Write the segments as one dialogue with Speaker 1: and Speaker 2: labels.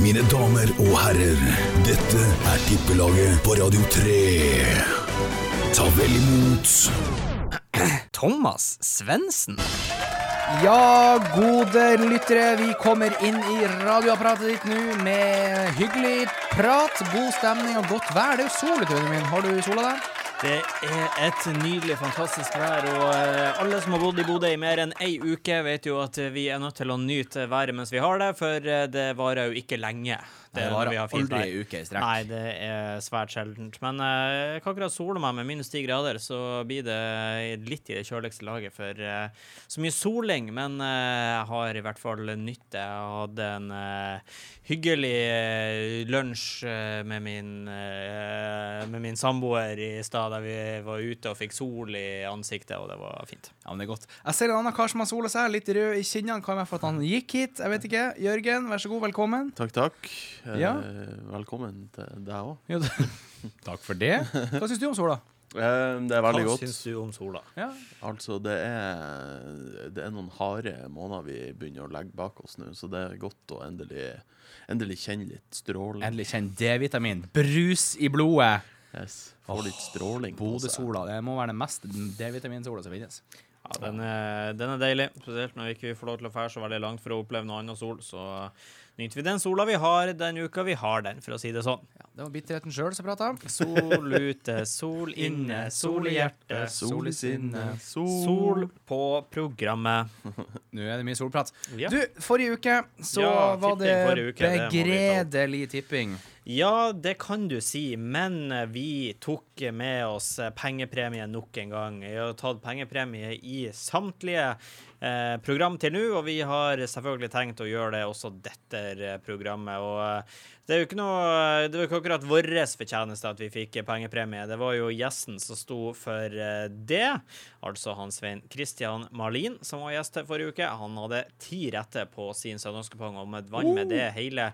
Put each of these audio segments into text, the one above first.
Speaker 1: Mine damer og herrer, dette er tippelaget på Radio 3. Ta vel imot
Speaker 2: Thomas Svendsen?
Speaker 3: Ja, gode lyttere, vi kommer inn i radioapparatet ditt nå med hyggelig prat, god stemning og godt vær. Det er jo sol ute, vennen min. Har du sola der?
Speaker 2: Det er et nydelig, fantastisk vær, og eh, alle som har bodd i Bodø i mer enn ei uke, vet jo at vi er nødt til å nyte været mens vi har det, for eh, det varer jo ikke lenge.
Speaker 3: Nei, det
Speaker 2: når
Speaker 3: varer
Speaker 2: vi har fint
Speaker 3: aldri
Speaker 2: vær.
Speaker 3: ei uke i strekk.
Speaker 2: Nei, det er svært sjeldent. Men eh, jeg kan akkurat sole meg med minus ti grader, så blir det litt i det kjøligste laget for eh, så mye soling. Men eh, jeg har i hvert fall nytt det. Jeg hadde en eh, hyggelig eh, lunsj eh, med min, eh, med min samboer i stad, der vi var ute og fikk sol i ansiktet, og det var fint.
Speaker 3: Ja, men det er godt. Jeg ser en annen kar som har sola seg, litt rød i kinnene. Kan være for at han gikk hit, jeg vet ikke. Jørgen, vær så god, velkommen.
Speaker 4: Takk, takk. Eh,
Speaker 3: Ja.
Speaker 4: Velkommen til deg òg.
Speaker 3: Jo, Takk for det. Hva syns du om sola?
Speaker 4: Eh, Det er veldig
Speaker 2: Hva
Speaker 4: godt.
Speaker 2: syns du om sola?
Speaker 3: Ja.
Speaker 4: Altså, det er, det er noen harde måneder vi begynner å legge bak oss nå, så det er godt å endelig, endelig kjenne litt stråling.
Speaker 3: Endelig kjenn D-vitamin. Brus i blodet.
Speaker 4: Yes. Få litt stråling. på seg.
Speaker 3: Bodø-sola. Det må være den mest D-vitaminsola som finnes.
Speaker 2: Ja, den er, den er deilig, spesielt når vi ikke får lov til å fære så veldig langt for å oppleve noe annet sol. Så nyter vi den sola vi har den uka vi har den, for å si det sånn.
Speaker 3: Ja, det var bitterheten sjøl som prata.
Speaker 2: Sol ute, sol inne, sol i hjertet,
Speaker 4: Sol i sinnet,
Speaker 2: sol på programmet.
Speaker 3: Nå er det mye solprat.
Speaker 2: Ja.
Speaker 3: Du, forrige uke så
Speaker 2: Ja,
Speaker 3: var
Speaker 2: tipping
Speaker 3: det
Speaker 2: forrige uke, det må vi ta opp.
Speaker 3: begredelig tipping.
Speaker 2: Ja, det kan du si, men vi tok med oss pengepremie nok en gang. Vi har tatt pengepremie i samtlige eh, program til nå, og vi har selvfølgelig tenkt å gjøre det også dette eh, programmet. Og eh, det er jo ikke noe Det var jo ikke akkurat vår fortjeneste at vi fikk eh, pengepremie. Det var jo gjesten som sto for eh, det, altså han Svein Christian Marlin, som var gjest her forrige uke. Han hadde ti retter på sin søndagskupong, og med vann med det hele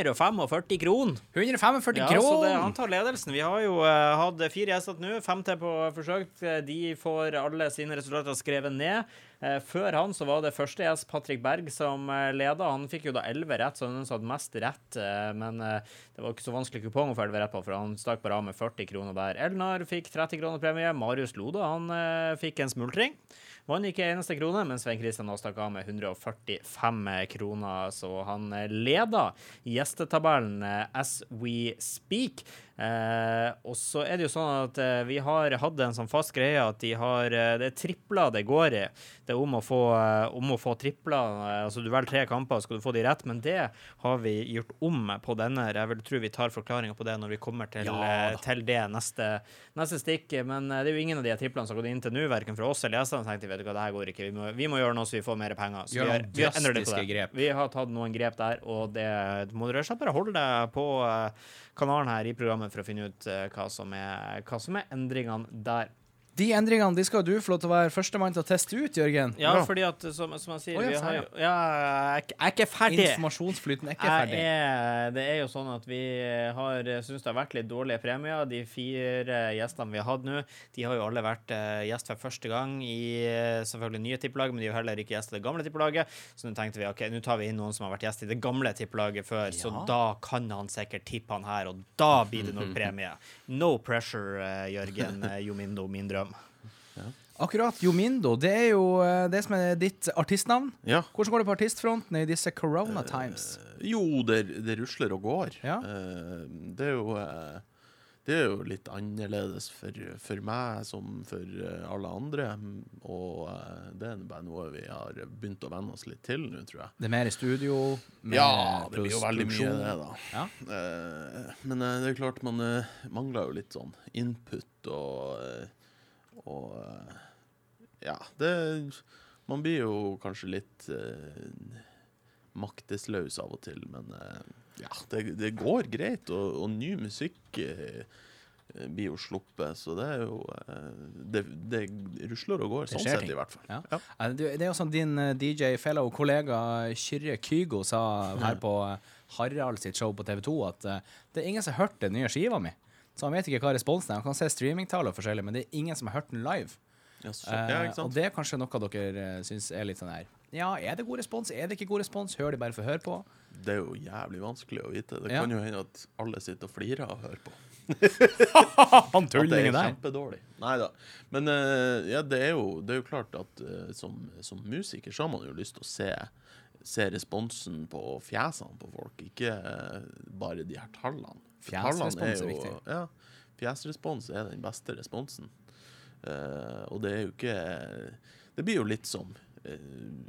Speaker 2: 145 kroner.
Speaker 3: 145
Speaker 2: Ja, så det, han
Speaker 3: kroner!
Speaker 2: tar ledelsen. Vi har jo eh, hatt fire gjester nå. Femte på forsøk. Eh, De får alle sine resultater skrevet ned. Eh, før han så var det første gjest, Patrick Berg, som uh, leda. Han fikk jo da elleve rett, så han hadde mest rett. eh, men eh, det var ikke så vanskelig kupong å få elleve rett på, for han stakk bare av med 40 kroner der. Elnar fikk 30 kroner premie. Marius Lode han eh, fikk en smultring. Vant ikke en eneste krone, men Svein Kristian da stakk av med 145 kroner, så han eh, leda gjestetabellen eh, as we speak. Eh, og så er det jo sånn at eh, vi har hatt en sånn fast greie at de har eh, Det er tripler det går i. Det er om å få, eh, om å få tripler. Eh, altså du velger tre kamper, skal du få de rett, men det har vi gjort om på denne. Jeg vil tro vi tar forklaringa på det når vi kommer til,
Speaker 3: Ja
Speaker 2: eh, til det neste, neste stikk. Men eh, det er jo ingen av de her triplene som har gått inn til nå, verken fra oss eller gjestene. Så tenkte vi vet du hva, det her går ikke. Vi må, vi må gjøre noe så vi får mer penger. Så
Speaker 3: Gjør
Speaker 2: vi, har-
Speaker 3: noen
Speaker 2: vi har endret litt på
Speaker 3: drastiske
Speaker 2: det.
Speaker 3: grep.
Speaker 2: Vi har tatt noen grep der, og det du må du rett og slett bare holde deg på eh, kanalen her i programmet for å finne ut eh, hva som er, hva som er endringene der.
Speaker 3: De endringene de skal du få lov til å være førstemann til å teste ut, Jørgen.
Speaker 2: Ja, fordi at som, som jeg
Speaker 3: Å,
Speaker 2: sier,
Speaker 3: ja,
Speaker 2: vi har
Speaker 3: sånn, ja.
Speaker 2: jo ja, jeg, er ikke- jeg er ikke ferdig.
Speaker 3: Informasjonsflyten er ikke
Speaker 2: Jeg
Speaker 3: ferdig.
Speaker 2: er, det er jo sånn at vi har syns det har vært litt dårlige premier. De fire eh, gjestene vi har hatt nå, de har jo alle vært eh, gjest for første gang i eh, selvfølgelig nye tippelag, men de er jo heller ikke gjest i det gamle tippelaget. Så nå tenkte vi ok, nå tar vi inn noen som har vært gjest i det gamle tippelaget før, så da kan han sikkert tippe han her, og da blir det nok premie. No pressure, eh, Jørgen eh, Jomindo, min drøm.
Speaker 3: Akkurat Jomindo, det er jo eh, det som er ditt artistnavn.
Speaker 4: Ja.
Speaker 3: Hvordan går det på artistfronten i disse corona times?
Speaker 4: Jo, det, det rusler og går.
Speaker 3: Ja.
Speaker 4: Eh, Det er jo eh, det er jo litt annerledes for, for meg som for eh, alle andre. Og eh, det er bare noe vi har begynt å venne oss litt til nå, tror jeg.
Speaker 3: Det er mer i studio? mer
Speaker 4: Ja, det blir jo
Speaker 3: produs-
Speaker 4: veldig mye
Speaker 3: produksjon.
Speaker 4: det, da.
Speaker 3: Ja.
Speaker 4: Eh, men eh, det er klart man eh, mangler jo litt sånn input og eh, Og eh, ja, det Man blir jo kanskje litt eh, maktesløs av og til, men eh, ja, det, det går greit. Og, og ny musikk eh, blir jo sluppet, så det er jo eh, det, det rusler og går,
Speaker 3: Det
Speaker 4: sånn
Speaker 3: skjer
Speaker 4: sett,
Speaker 3: ting.
Speaker 4: i hvert fall.
Speaker 3: Ja.
Speaker 4: Ja.
Speaker 3: Eh, du, Det er jo som din eh, DJ fellow kollega eh, Kyrre Kygo sa her på eh, Harald sitt show på TV 2, at eh, det er ingen som har hørt den nye skiva mi. Så han vet ikke hva responsen er. Han kan se streamingtall og forskjellig, men det er ingen som har hørt den live.
Speaker 4: Ja, så,
Speaker 3: Eh,
Speaker 4: ja, ikke
Speaker 3: og
Speaker 4: sant?
Speaker 3: det eh, er kanskje noe dere uh, syns er litt sånn her ja, er det god respons, er det ikke god respons? Hør de bare for å høre på.
Speaker 4: Det er jo jævlig vanskelig å vite. Det
Speaker 3: Ja.
Speaker 4: kan jo hende at alle sitter og flirer og hører på.
Speaker 3: Han
Speaker 4: At det er
Speaker 3: tullingen der.
Speaker 4: kjempedårlig. Nei da. Men eh, ja, det, er jo, det er jo klart at eh, som, som musiker så har man jo lyst til å se, se responsen på fjesene på folk, ikke eh, bare de her tallene. For
Speaker 3: Fjesrespons
Speaker 4: tallene
Speaker 3: er
Speaker 4: jo-
Speaker 3: viktig.
Speaker 4: Ja, fjesrespons er den beste responsen. Eh, og det er jo ikke Det blir jo litt som eh,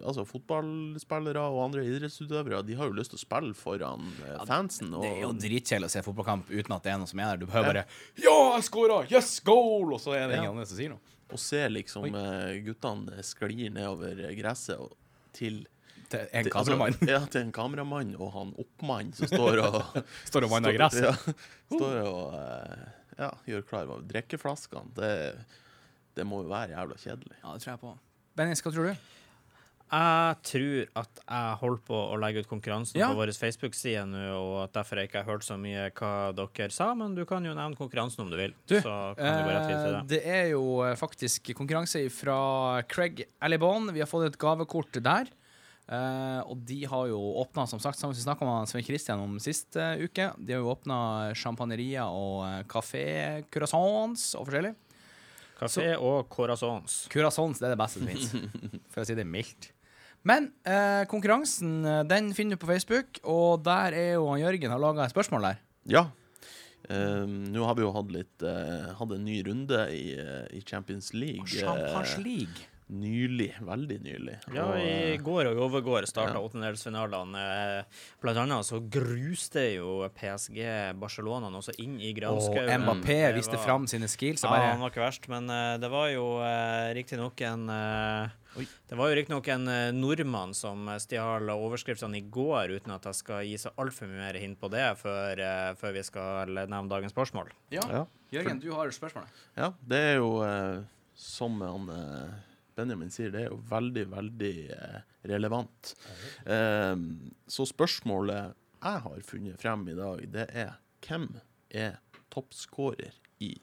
Speaker 4: altså Fotballspillere og andre idrettsutøvere De har jo lyst til å spille foran eh, fansen. Og,
Speaker 3: Det er jo dritkjedelig å se fotballkamp uten at det er noen som er der. Du behøver bare Ja, han scora! Yes, goal! Og så er det
Speaker 4: Ja.
Speaker 3: ingen andre som sier noe.
Speaker 4: Og ser liksom eh, guttene sklir nedover gresset og til
Speaker 3: Til en
Speaker 4: til-
Speaker 3: kameramann
Speaker 4: Altså, ja, til en kameramann og han oppmann som står og
Speaker 3: står og vanner Uh. gress.
Speaker 4: Ja, står og eh, ja, gjør klar over drikkeflaskene. Det, det må jo være jævla kjedelig.
Speaker 3: Ja, det tror jeg på. Bennis, hva tror du?
Speaker 2: Jeg tror at jeg holder på å legge ut konkurransen
Speaker 3: Ja.
Speaker 2: på vår Facebook-side nå, og at derfor har jeg ikke hørt så mye hva dere sa, men du kan jo nevne konkurransen om du vil.
Speaker 3: Du,
Speaker 2: så kan du bare rette videre
Speaker 3: Eh,
Speaker 2: til det.
Speaker 3: det er jo eh, faktisk konkurranse fra Craig Alibon. Vi har fått et gavekort der. Eh, og de har jo åpna, som sagt, som vi snakka med Svein Christian om sist eh, uke, de har jo åpna sjampanjerier og uh, kafé croissants og forskjellig.
Speaker 2: Kafé og Corazons.
Speaker 3: Curaçons det er det beste som fins, for å si det mildt. Men eh, konkurransen eh, den finner du på Facebook, og der er jo han Jørgen har laga et spørsmål der.
Speaker 4: Ja. Eh, Nå har vi jo hatt litt eh, Hatt en ny runde i, eh, i Champions League eh,
Speaker 3: League.
Speaker 4: nylig. Veldig nylig.
Speaker 2: Ja,
Speaker 4: Og,
Speaker 2: i
Speaker 4: eh,
Speaker 2: går og i overgår starta
Speaker 4: ja.
Speaker 2: åttendelsfinalene. Eh, Blant annet så gruste jo PSG Barcelona også inn i
Speaker 3: Og
Speaker 2: granskauen.
Speaker 3: Mbappé
Speaker 2: Det
Speaker 3: viste
Speaker 2: var-
Speaker 3: fram sine skills. og
Speaker 2: Ja,
Speaker 3: bare,
Speaker 2: han var ikke verst, men eh, det var jo eh, riktignok en eh,
Speaker 3: Oi.
Speaker 2: Det var jo riktignok en eh, nordmann som eh, stjal overskriftene i går, uten at jeg skal gi så altfor mye mer hint på det før, eh, før vi skal nevne dagens spørsmål.
Speaker 3: Ja.
Speaker 4: ja.
Speaker 3: Jørgen, du har spørsmålet.
Speaker 4: Ja, det er jo eh, som han eh, Benjamin sier, det er jo veldig, veldig eh, relevant. Eh, så spørsmålet jeg har funnet frem i dag, det er hvem er toppskårer i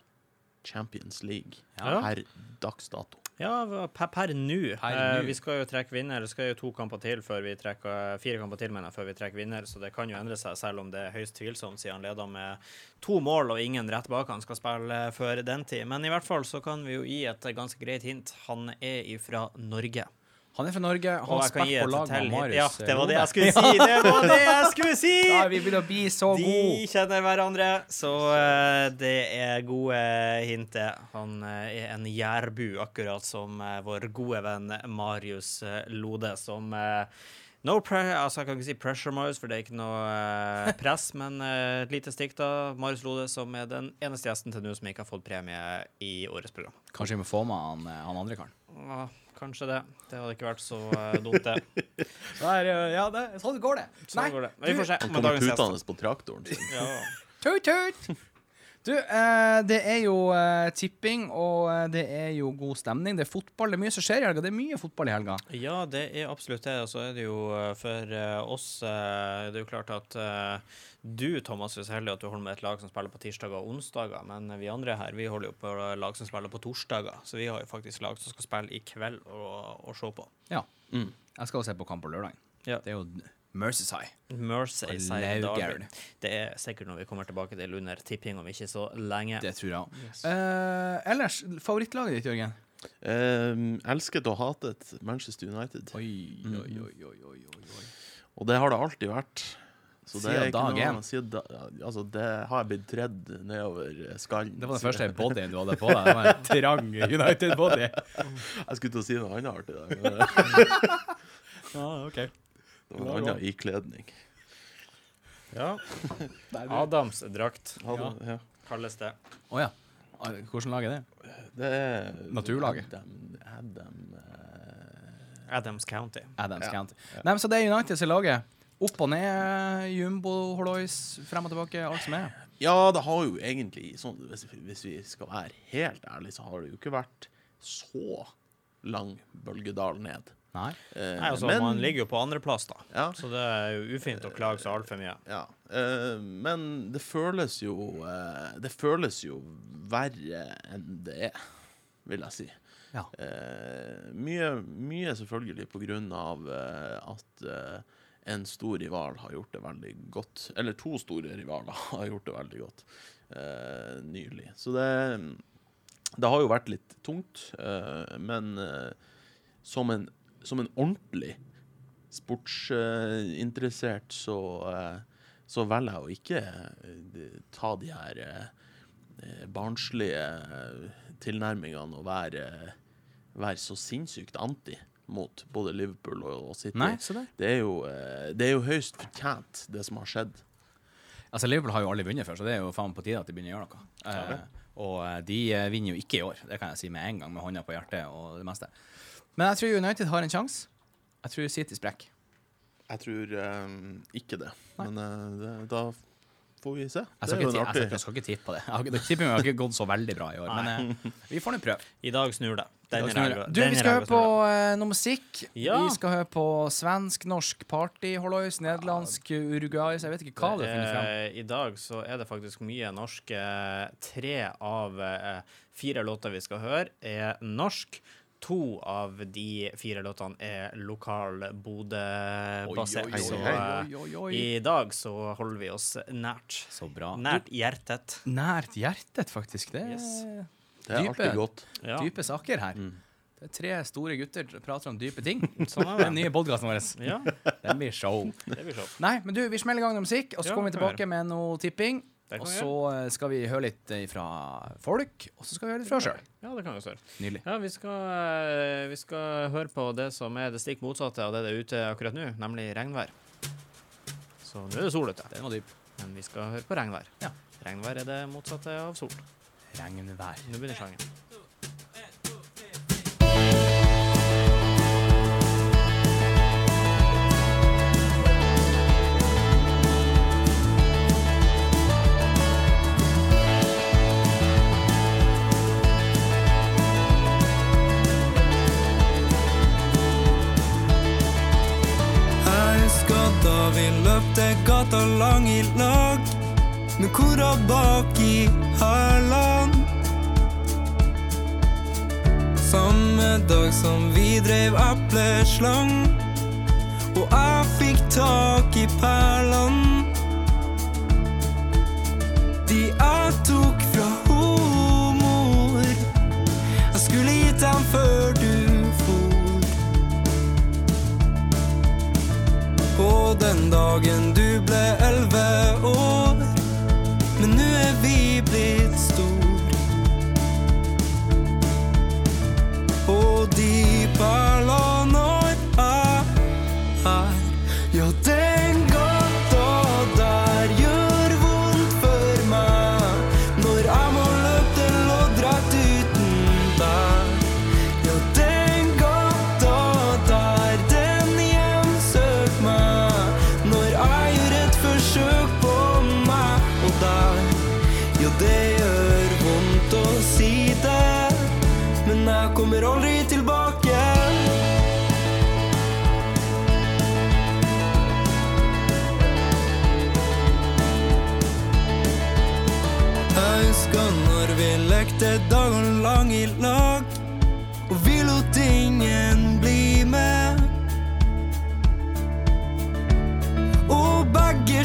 Speaker 4: Champions League
Speaker 2: Ja.
Speaker 4: per dags dato?
Speaker 2: Ja, per, per nå.
Speaker 3: Per
Speaker 2: Eh,
Speaker 3: nå.
Speaker 2: vi skal jo trekke vinner. Det skal jo to kamper til før vi trekker eh, fire kamper til, mener jeg, før vi trekker vinner. Så det kan jo endre seg, selv om det er høyst tvilsomt, siden han leder med to mål og ingen rett bak han skal spille eh, før den tid. Men i hvert fall så kan vi jo gi et ganske greit hint. Han er ifra Norge.
Speaker 3: Han er fra Norge. Han
Speaker 2: Og
Speaker 3: har
Speaker 2: jeg kan
Speaker 3: spilt
Speaker 2: gi
Speaker 3: på
Speaker 2: et
Speaker 3: lag med
Speaker 2: til hint.
Speaker 3: Marius.
Speaker 2: Ja,
Speaker 3: eh,
Speaker 2: det var det
Speaker 3: Rode.
Speaker 2: jeg skulle si! Det var det jeg skulle si!
Speaker 3: Ja, vi begynner å bli så
Speaker 2: De
Speaker 3: gode.
Speaker 2: kjenner hverandre, så eh, det er gode hint. det. Han eh, er en jærbu, akkurat som eh, vår gode venn Marius eh, Lode, som eh, No pressure, altså Jeg kan ikke si 'pressure Marius', for det er ikke noe eh, press, men eh, et lite stikk, da. Marius Lode, som er den eneste gjesten til nå som ikke har fått premie i årets program.
Speaker 3: Kanskje vi må få med han, eh, han andre karen.
Speaker 2: Ja, kanskje det. Det hadde ikke vært så eh, dumt, det.
Speaker 3: ja, sånn går det.
Speaker 2: Sånn går det. Men Vi får se
Speaker 4: Han
Speaker 2: med
Speaker 4: kommer
Speaker 2: dagens gjest.
Speaker 4: tutende på traktoren sin.
Speaker 2: Ja.
Speaker 3: Tut, tut! Du, eh, det er jo eh, tipping, og eh, det er jo god stemning. Det er fotball, det er mye som skjer i helga. Det er mye fotball i helga.
Speaker 2: Ja, det er absolutt det. Og så er det jo eh, for eh, oss eh, Det er jo klart at eh, du, Thomas, er så heldig at du holder med et lag som spiller på tirsdager og onsdager. Men vi andre her, vi holder jo på lag som spiller på torsdager. Så vi har jo faktisk lag som skal spille i kveld og, og se på.
Speaker 3: Ja.
Speaker 4: Mm.
Speaker 3: Jeg skal jo se på kamp på lørdag.
Speaker 2: Ja.
Speaker 3: Det er jo Mercyside.
Speaker 2: Mercy, sier
Speaker 3: Laugard.
Speaker 2: Darwin. Det er sikkert når vi kommer tilbake til under tipping om ikke så lenge.
Speaker 3: Det Eh. tror jeg òg. ellers, favorittlaget ditt, Jørgen?
Speaker 4: Eh, elsket og hatet Manchester United. Mm.
Speaker 3: Oi, oi, oi, oi, oi, oi, oi.
Speaker 4: Og det har det alltid vært. Så det er
Speaker 3: Siden
Speaker 4: ikke
Speaker 3: dag
Speaker 4: noe-
Speaker 3: én.
Speaker 4: Siden da, ja, altså, det har jeg blitt tredd nedover eh, skallen.
Speaker 3: Det var den
Speaker 4: Så-
Speaker 3: første bodyen du hadde på deg. Det var en trang United-body.
Speaker 4: Jeg skulle til å si noe annet artig der, men det
Speaker 3: Ja, ok.
Speaker 4: var en annen ikledning.
Speaker 2: Ja. Adams drakt
Speaker 4: Ja, det- ja.
Speaker 2: kalles det.
Speaker 3: Å ja. Hvordan lag er det?
Speaker 4: Det er
Speaker 3: Naturlaget.
Speaker 4: Adam, Adam eh,
Speaker 2: Adams County.
Speaker 3: Adams
Speaker 4: Ja.
Speaker 3: County. Nei, men så det er United som er laget. Opp og ned, jumbo, holois, frem og tilbake, alt som er.
Speaker 4: Ja, det har jo egentlig sånn, hvis, hvis vi skal være helt ærlige, så har det jo ikke vært så lang bølgedal ned.
Speaker 3: Nei.
Speaker 4: Eh,
Speaker 2: Nei, altså, Man ligger jo på andreplass, da.
Speaker 4: ja,
Speaker 2: Så det er jo ufint å klage så altfor mye.
Speaker 4: ja. Eh, men det føles jo eh, Det føles jo verre enn det er, vil jeg si.
Speaker 3: Ja.
Speaker 4: Eh, mye, mye selvfølgelig på grunn av eh, at eh, en stor rival har gjort det veldig godt. Eller to store rivaler har gjort det veldig godt eh, nylig. Så det, det har jo vært litt tungt, eh, men eh, som, en, som en ordentlig sportsinteressert, så, eh, så velger jeg å ikke eh, ta de her eh, eh, barnslige eh, tilnærmingene og være, være så sinnssykt anti mot både Liverpool og og City.
Speaker 3: Nei, se der.
Speaker 4: Det er, jo, eh, det er jo høyst fortjent, det som har skjedd.
Speaker 3: Altså, Liverpool har jo aldri vunnet før, så det er jo faen på tide at de begynner å gjøre noe. Eh, og eh, de eh, vinner jo ikke i år, det kan jeg si med en gang, med hånda på hjertet og det meste. Men jeg tror United har en sjanse. Jeg tror City sprekker.
Speaker 4: Jeg tror eh, ikke det, men eh, det, da får vi se.
Speaker 3: Jeg
Speaker 4: Det
Speaker 3: skal, ikke,
Speaker 4: er jo
Speaker 3: ti- jeg,
Speaker 4: en
Speaker 3: skal,
Speaker 4: artig
Speaker 3: ikke- jeg skal ikke tippe på det. Jeg har ikke- det Tippingen har ikke gått så veldig bra i år, men eh, vi får nå prøve.
Speaker 2: I dag snur det. Den er ræva.
Speaker 3: Du,
Speaker 2: Den
Speaker 3: vi
Speaker 2: er
Speaker 3: skal høre
Speaker 2: ræva
Speaker 3: på
Speaker 2: snur det.
Speaker 3: eh, noe musikk.
Speaker 2: Ja.
Speaker 3: Vi skal høre på svensk, norsk party, hollois, nederlandsk, uruguaysk Jeg vet ikke hva du har funnet fram.
Speaker 2: Eh, I dag så er det faktisk mye norsk. Eh, Tre av eh, fire låter vi skal høre, er norsk. To av de fire låtene er lokal Bodø-basert.
Speaker 4: oi,
Speaker 2: Så
Speaker 4: oi,
Speaker 2: eh,
Speaker 3: oi, oi.
Speaker 2: i dag så holder vi oss nært.
Speaker 3: Så bra.
Speaker 2: Nært hjertet.
Speaker 3: Nært hjertet, faktisk. Det er
Speaker 2: Yes.
Speaker 4: Det er
Speaker 3: dype-
Speaker 4: alltid godt. Mm.
Speaker 2: Ja.
Speaker 3: dype saker her. Det er tre store gutter som prater om dype ting.
Speaker 2: Sånn er det.
Speaker 3: Den nye podkasten vår.
Speaker 2: Ja,
Speaker 3: Den blir show.
Speaker 2: det blir sånn.
Speaker 3: Nei, men du, vi smeller i gang med musikk, og så
Speaker 2: Ja,
Speaker 3: kommer vi
Speaker 2: det kan vi
Speaker 3: tilbake med noe tipping.
Speaker 2: Det kan
Speaker 3: Og
Speaker 2: vi
Speaker 3: så eh, skal vi høre litt eh, fra folk, og så skal vi høre litt fra oss sjøl.
Speaker 2: Ja, det kan vi gjøre.
Speaker 3: Nydelig.
Speaker 2: Ja, vi skal, eh, vi skal høre på det som er det stikk motsatte av det det er ute akkurat nå, nemlig regnvær. Så nå er det sol ute,
Speaker 3: Den var dyp.
Speaker 2: men vi skal høre på regnvær.
Speaker 3: Ja.
Speaker 2: Regnvær er det motsatte av sol.
Speaker 3: Regnvær.
Speaker 2: Nå begynner sangen.
Speaker 5: Jeg husker da vi løpte gata lang i lag Med kora bak i Hærland Samme dag som vi drev epleslang Og jeg fikk tak i perlene De jeg tok fra homor Jeg skulle gitt dem før du for på den dagen du ble elleve år. Men nå er vi blitt stor. Og de perlene når jeg er Ja, den gata der gjør vondt for meg. Når jeg må løpe til loddrett uten deg. Ja, den gata der, den hjemsøk meg Når jeg gjør et forsøk på meg og deg Ja, det gjør vondt å si det Men jeg kommer aldri tilbake Jeg husker når vi lekte dagen lang i lag og vi lot ingen bli med. Og begge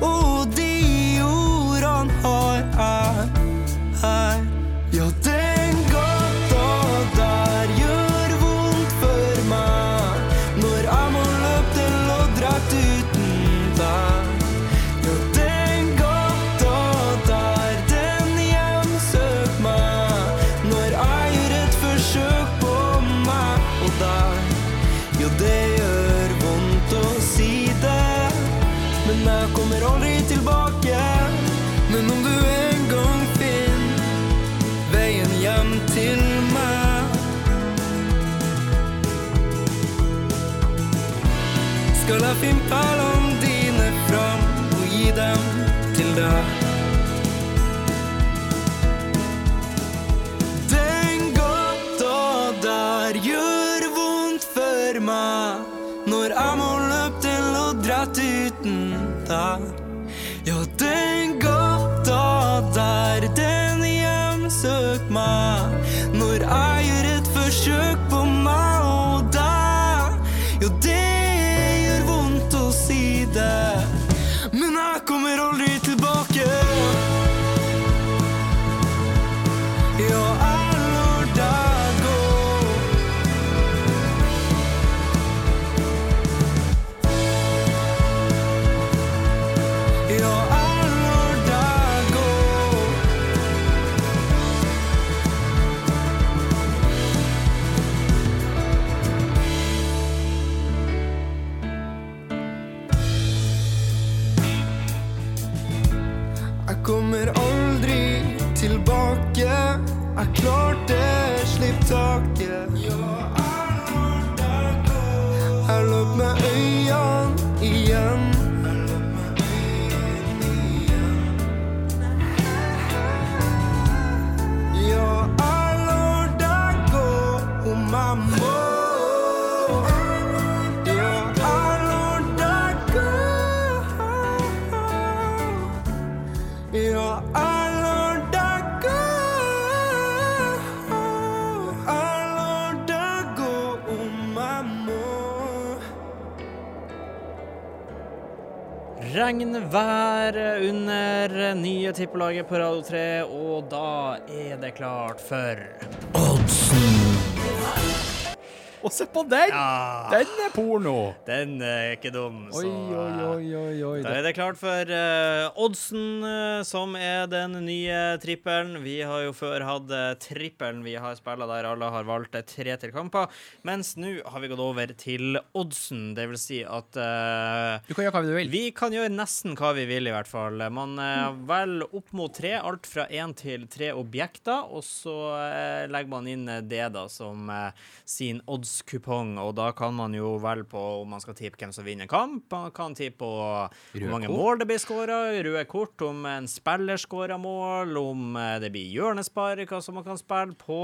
Speaker 5: Og de ordene har jeg her. Ja, den gata der gjør vondt for meg når jeg må løpe til loddrett uten deg. Ja, den gata der, den hjemsøk meg når jeg gjør et forsøk på meg og deg. Ja, det gjør vondt å si det, men jeg kommer aldri tilbake. Men om du en gang finner veien hjem til meg. Skal jeg finne perlene dine fram og gi dem til deg? Den gata der gjør vondt for meg når jeg må løpe til loddrett uten der. Ja, den gata der, den hjemsøk meg når jeg gjør et forsøk på meg og deg. Ja, det gjør vondt å si det, men jeg kommer aldri tilbake. Ja, jeg lar deg gå. Ja, jeg lar deg gå. Jeg kommer aldri tilbake. Jeg klarte slipp taket. Jeg løp med øynene igjen. Ja, jeg lar deg gå om jeg må. Ja, jeg lar deg gå. Ja, jeg lar deg gå. Jeg lar deg gå om jeg må.
Speaker 2: Regnvær under nye tippelaget på Radio 3, og da er det klart for
Speaker 3: Og se på den!
Speaker 2: Ja,
Speaker 3: Den er porno!
Speaker 2: den er ikke dum, så
Speaker 3: Oi, oi, oi, oi, oi.
Speaker 2: Da er det klart for eh, oddsen, eh, som er den nye trippelen. Vi har jo før hatt eh, trippelen vi har spilla der alle har valgt eh, tre til kamper, mens nå har vi gått over til oddsen. Det vil si at eh,
Speaker 3: Du kan gjøre hva du vil.
Speaker 2: vi kan gjøre nesten hva vi vil, i hvert fall. Man eh, velger opp mot tre, alt fra én til tre objekter, og så eh, legger man inn eh, det da som eh, sin oddskupong, og da kan man jo velge på om man skal tippe hvem som vinner en kamp, man kan tippe på hvor mange mål det blir skåra, røde kort, om en spiller skårer mål, om eh, det blir hjørnespark, altså man kan spille på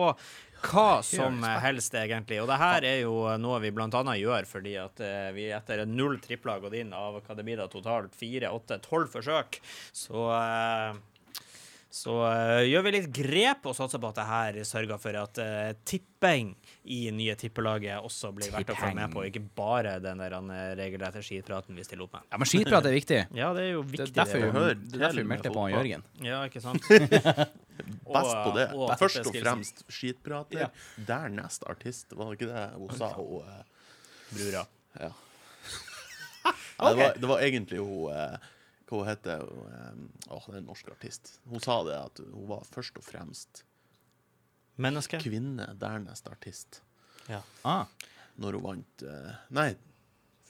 Speaker 2: hva som helst, egentlig. Og det her er jo noe vi blant annet gjør fordi at eh, vi etter null tripler har gått inn av hva det blir da totalt fire, åtte, tolv forsøk, så eh, så eh, gjør vi litt grep og satser på at det her sørger for at eh, tipping i nye tippelaget også blir verdt å følge med på, ikke bare den der eh, regelrette skitpraten vi stiller opp med.
Speaker 3: Ja, men skitprat er viktig.
Speaker 2: Ja, det er jo
Speaker 3: Det
Speaker 2: viktig.
Speaker 3: er derfor
Speaker 2: det,
Speaker 3: vi
Speaker 2: da.
Speaker 4: hører
Speaker 3: det er derfor vi
Speaker 4: til
Speaker 3: meldte
Speaker 4: med
Speaker 3: på han
Speaker 4: fotball.
Speaker 3: Jørgen.
Speaker 2: ja, ikke sant?
Speaker 4: Best på det.
Speaker 2: og- og
Speaker 4: Først og
Speaker 2: tippeskilsen.
Speaker 4: fremst skitprater. Dernest artist, var det ikke det hun sa? Hun, eh,
Speaker 2: Brura.
Speaker 4: ja. Nei, det, var, det var egentlig hun eh, Hva hun heter hun? eh, Åh, det er en norsk artist. Hun sa det at hun var først og fremst
Speaker 2: Menneske.
Speaker 4: kvinne, dernest artist,
Speaker 2: Ja.
Speaker 3: Ah,
Speaker 4: når hun vant eh, Nei,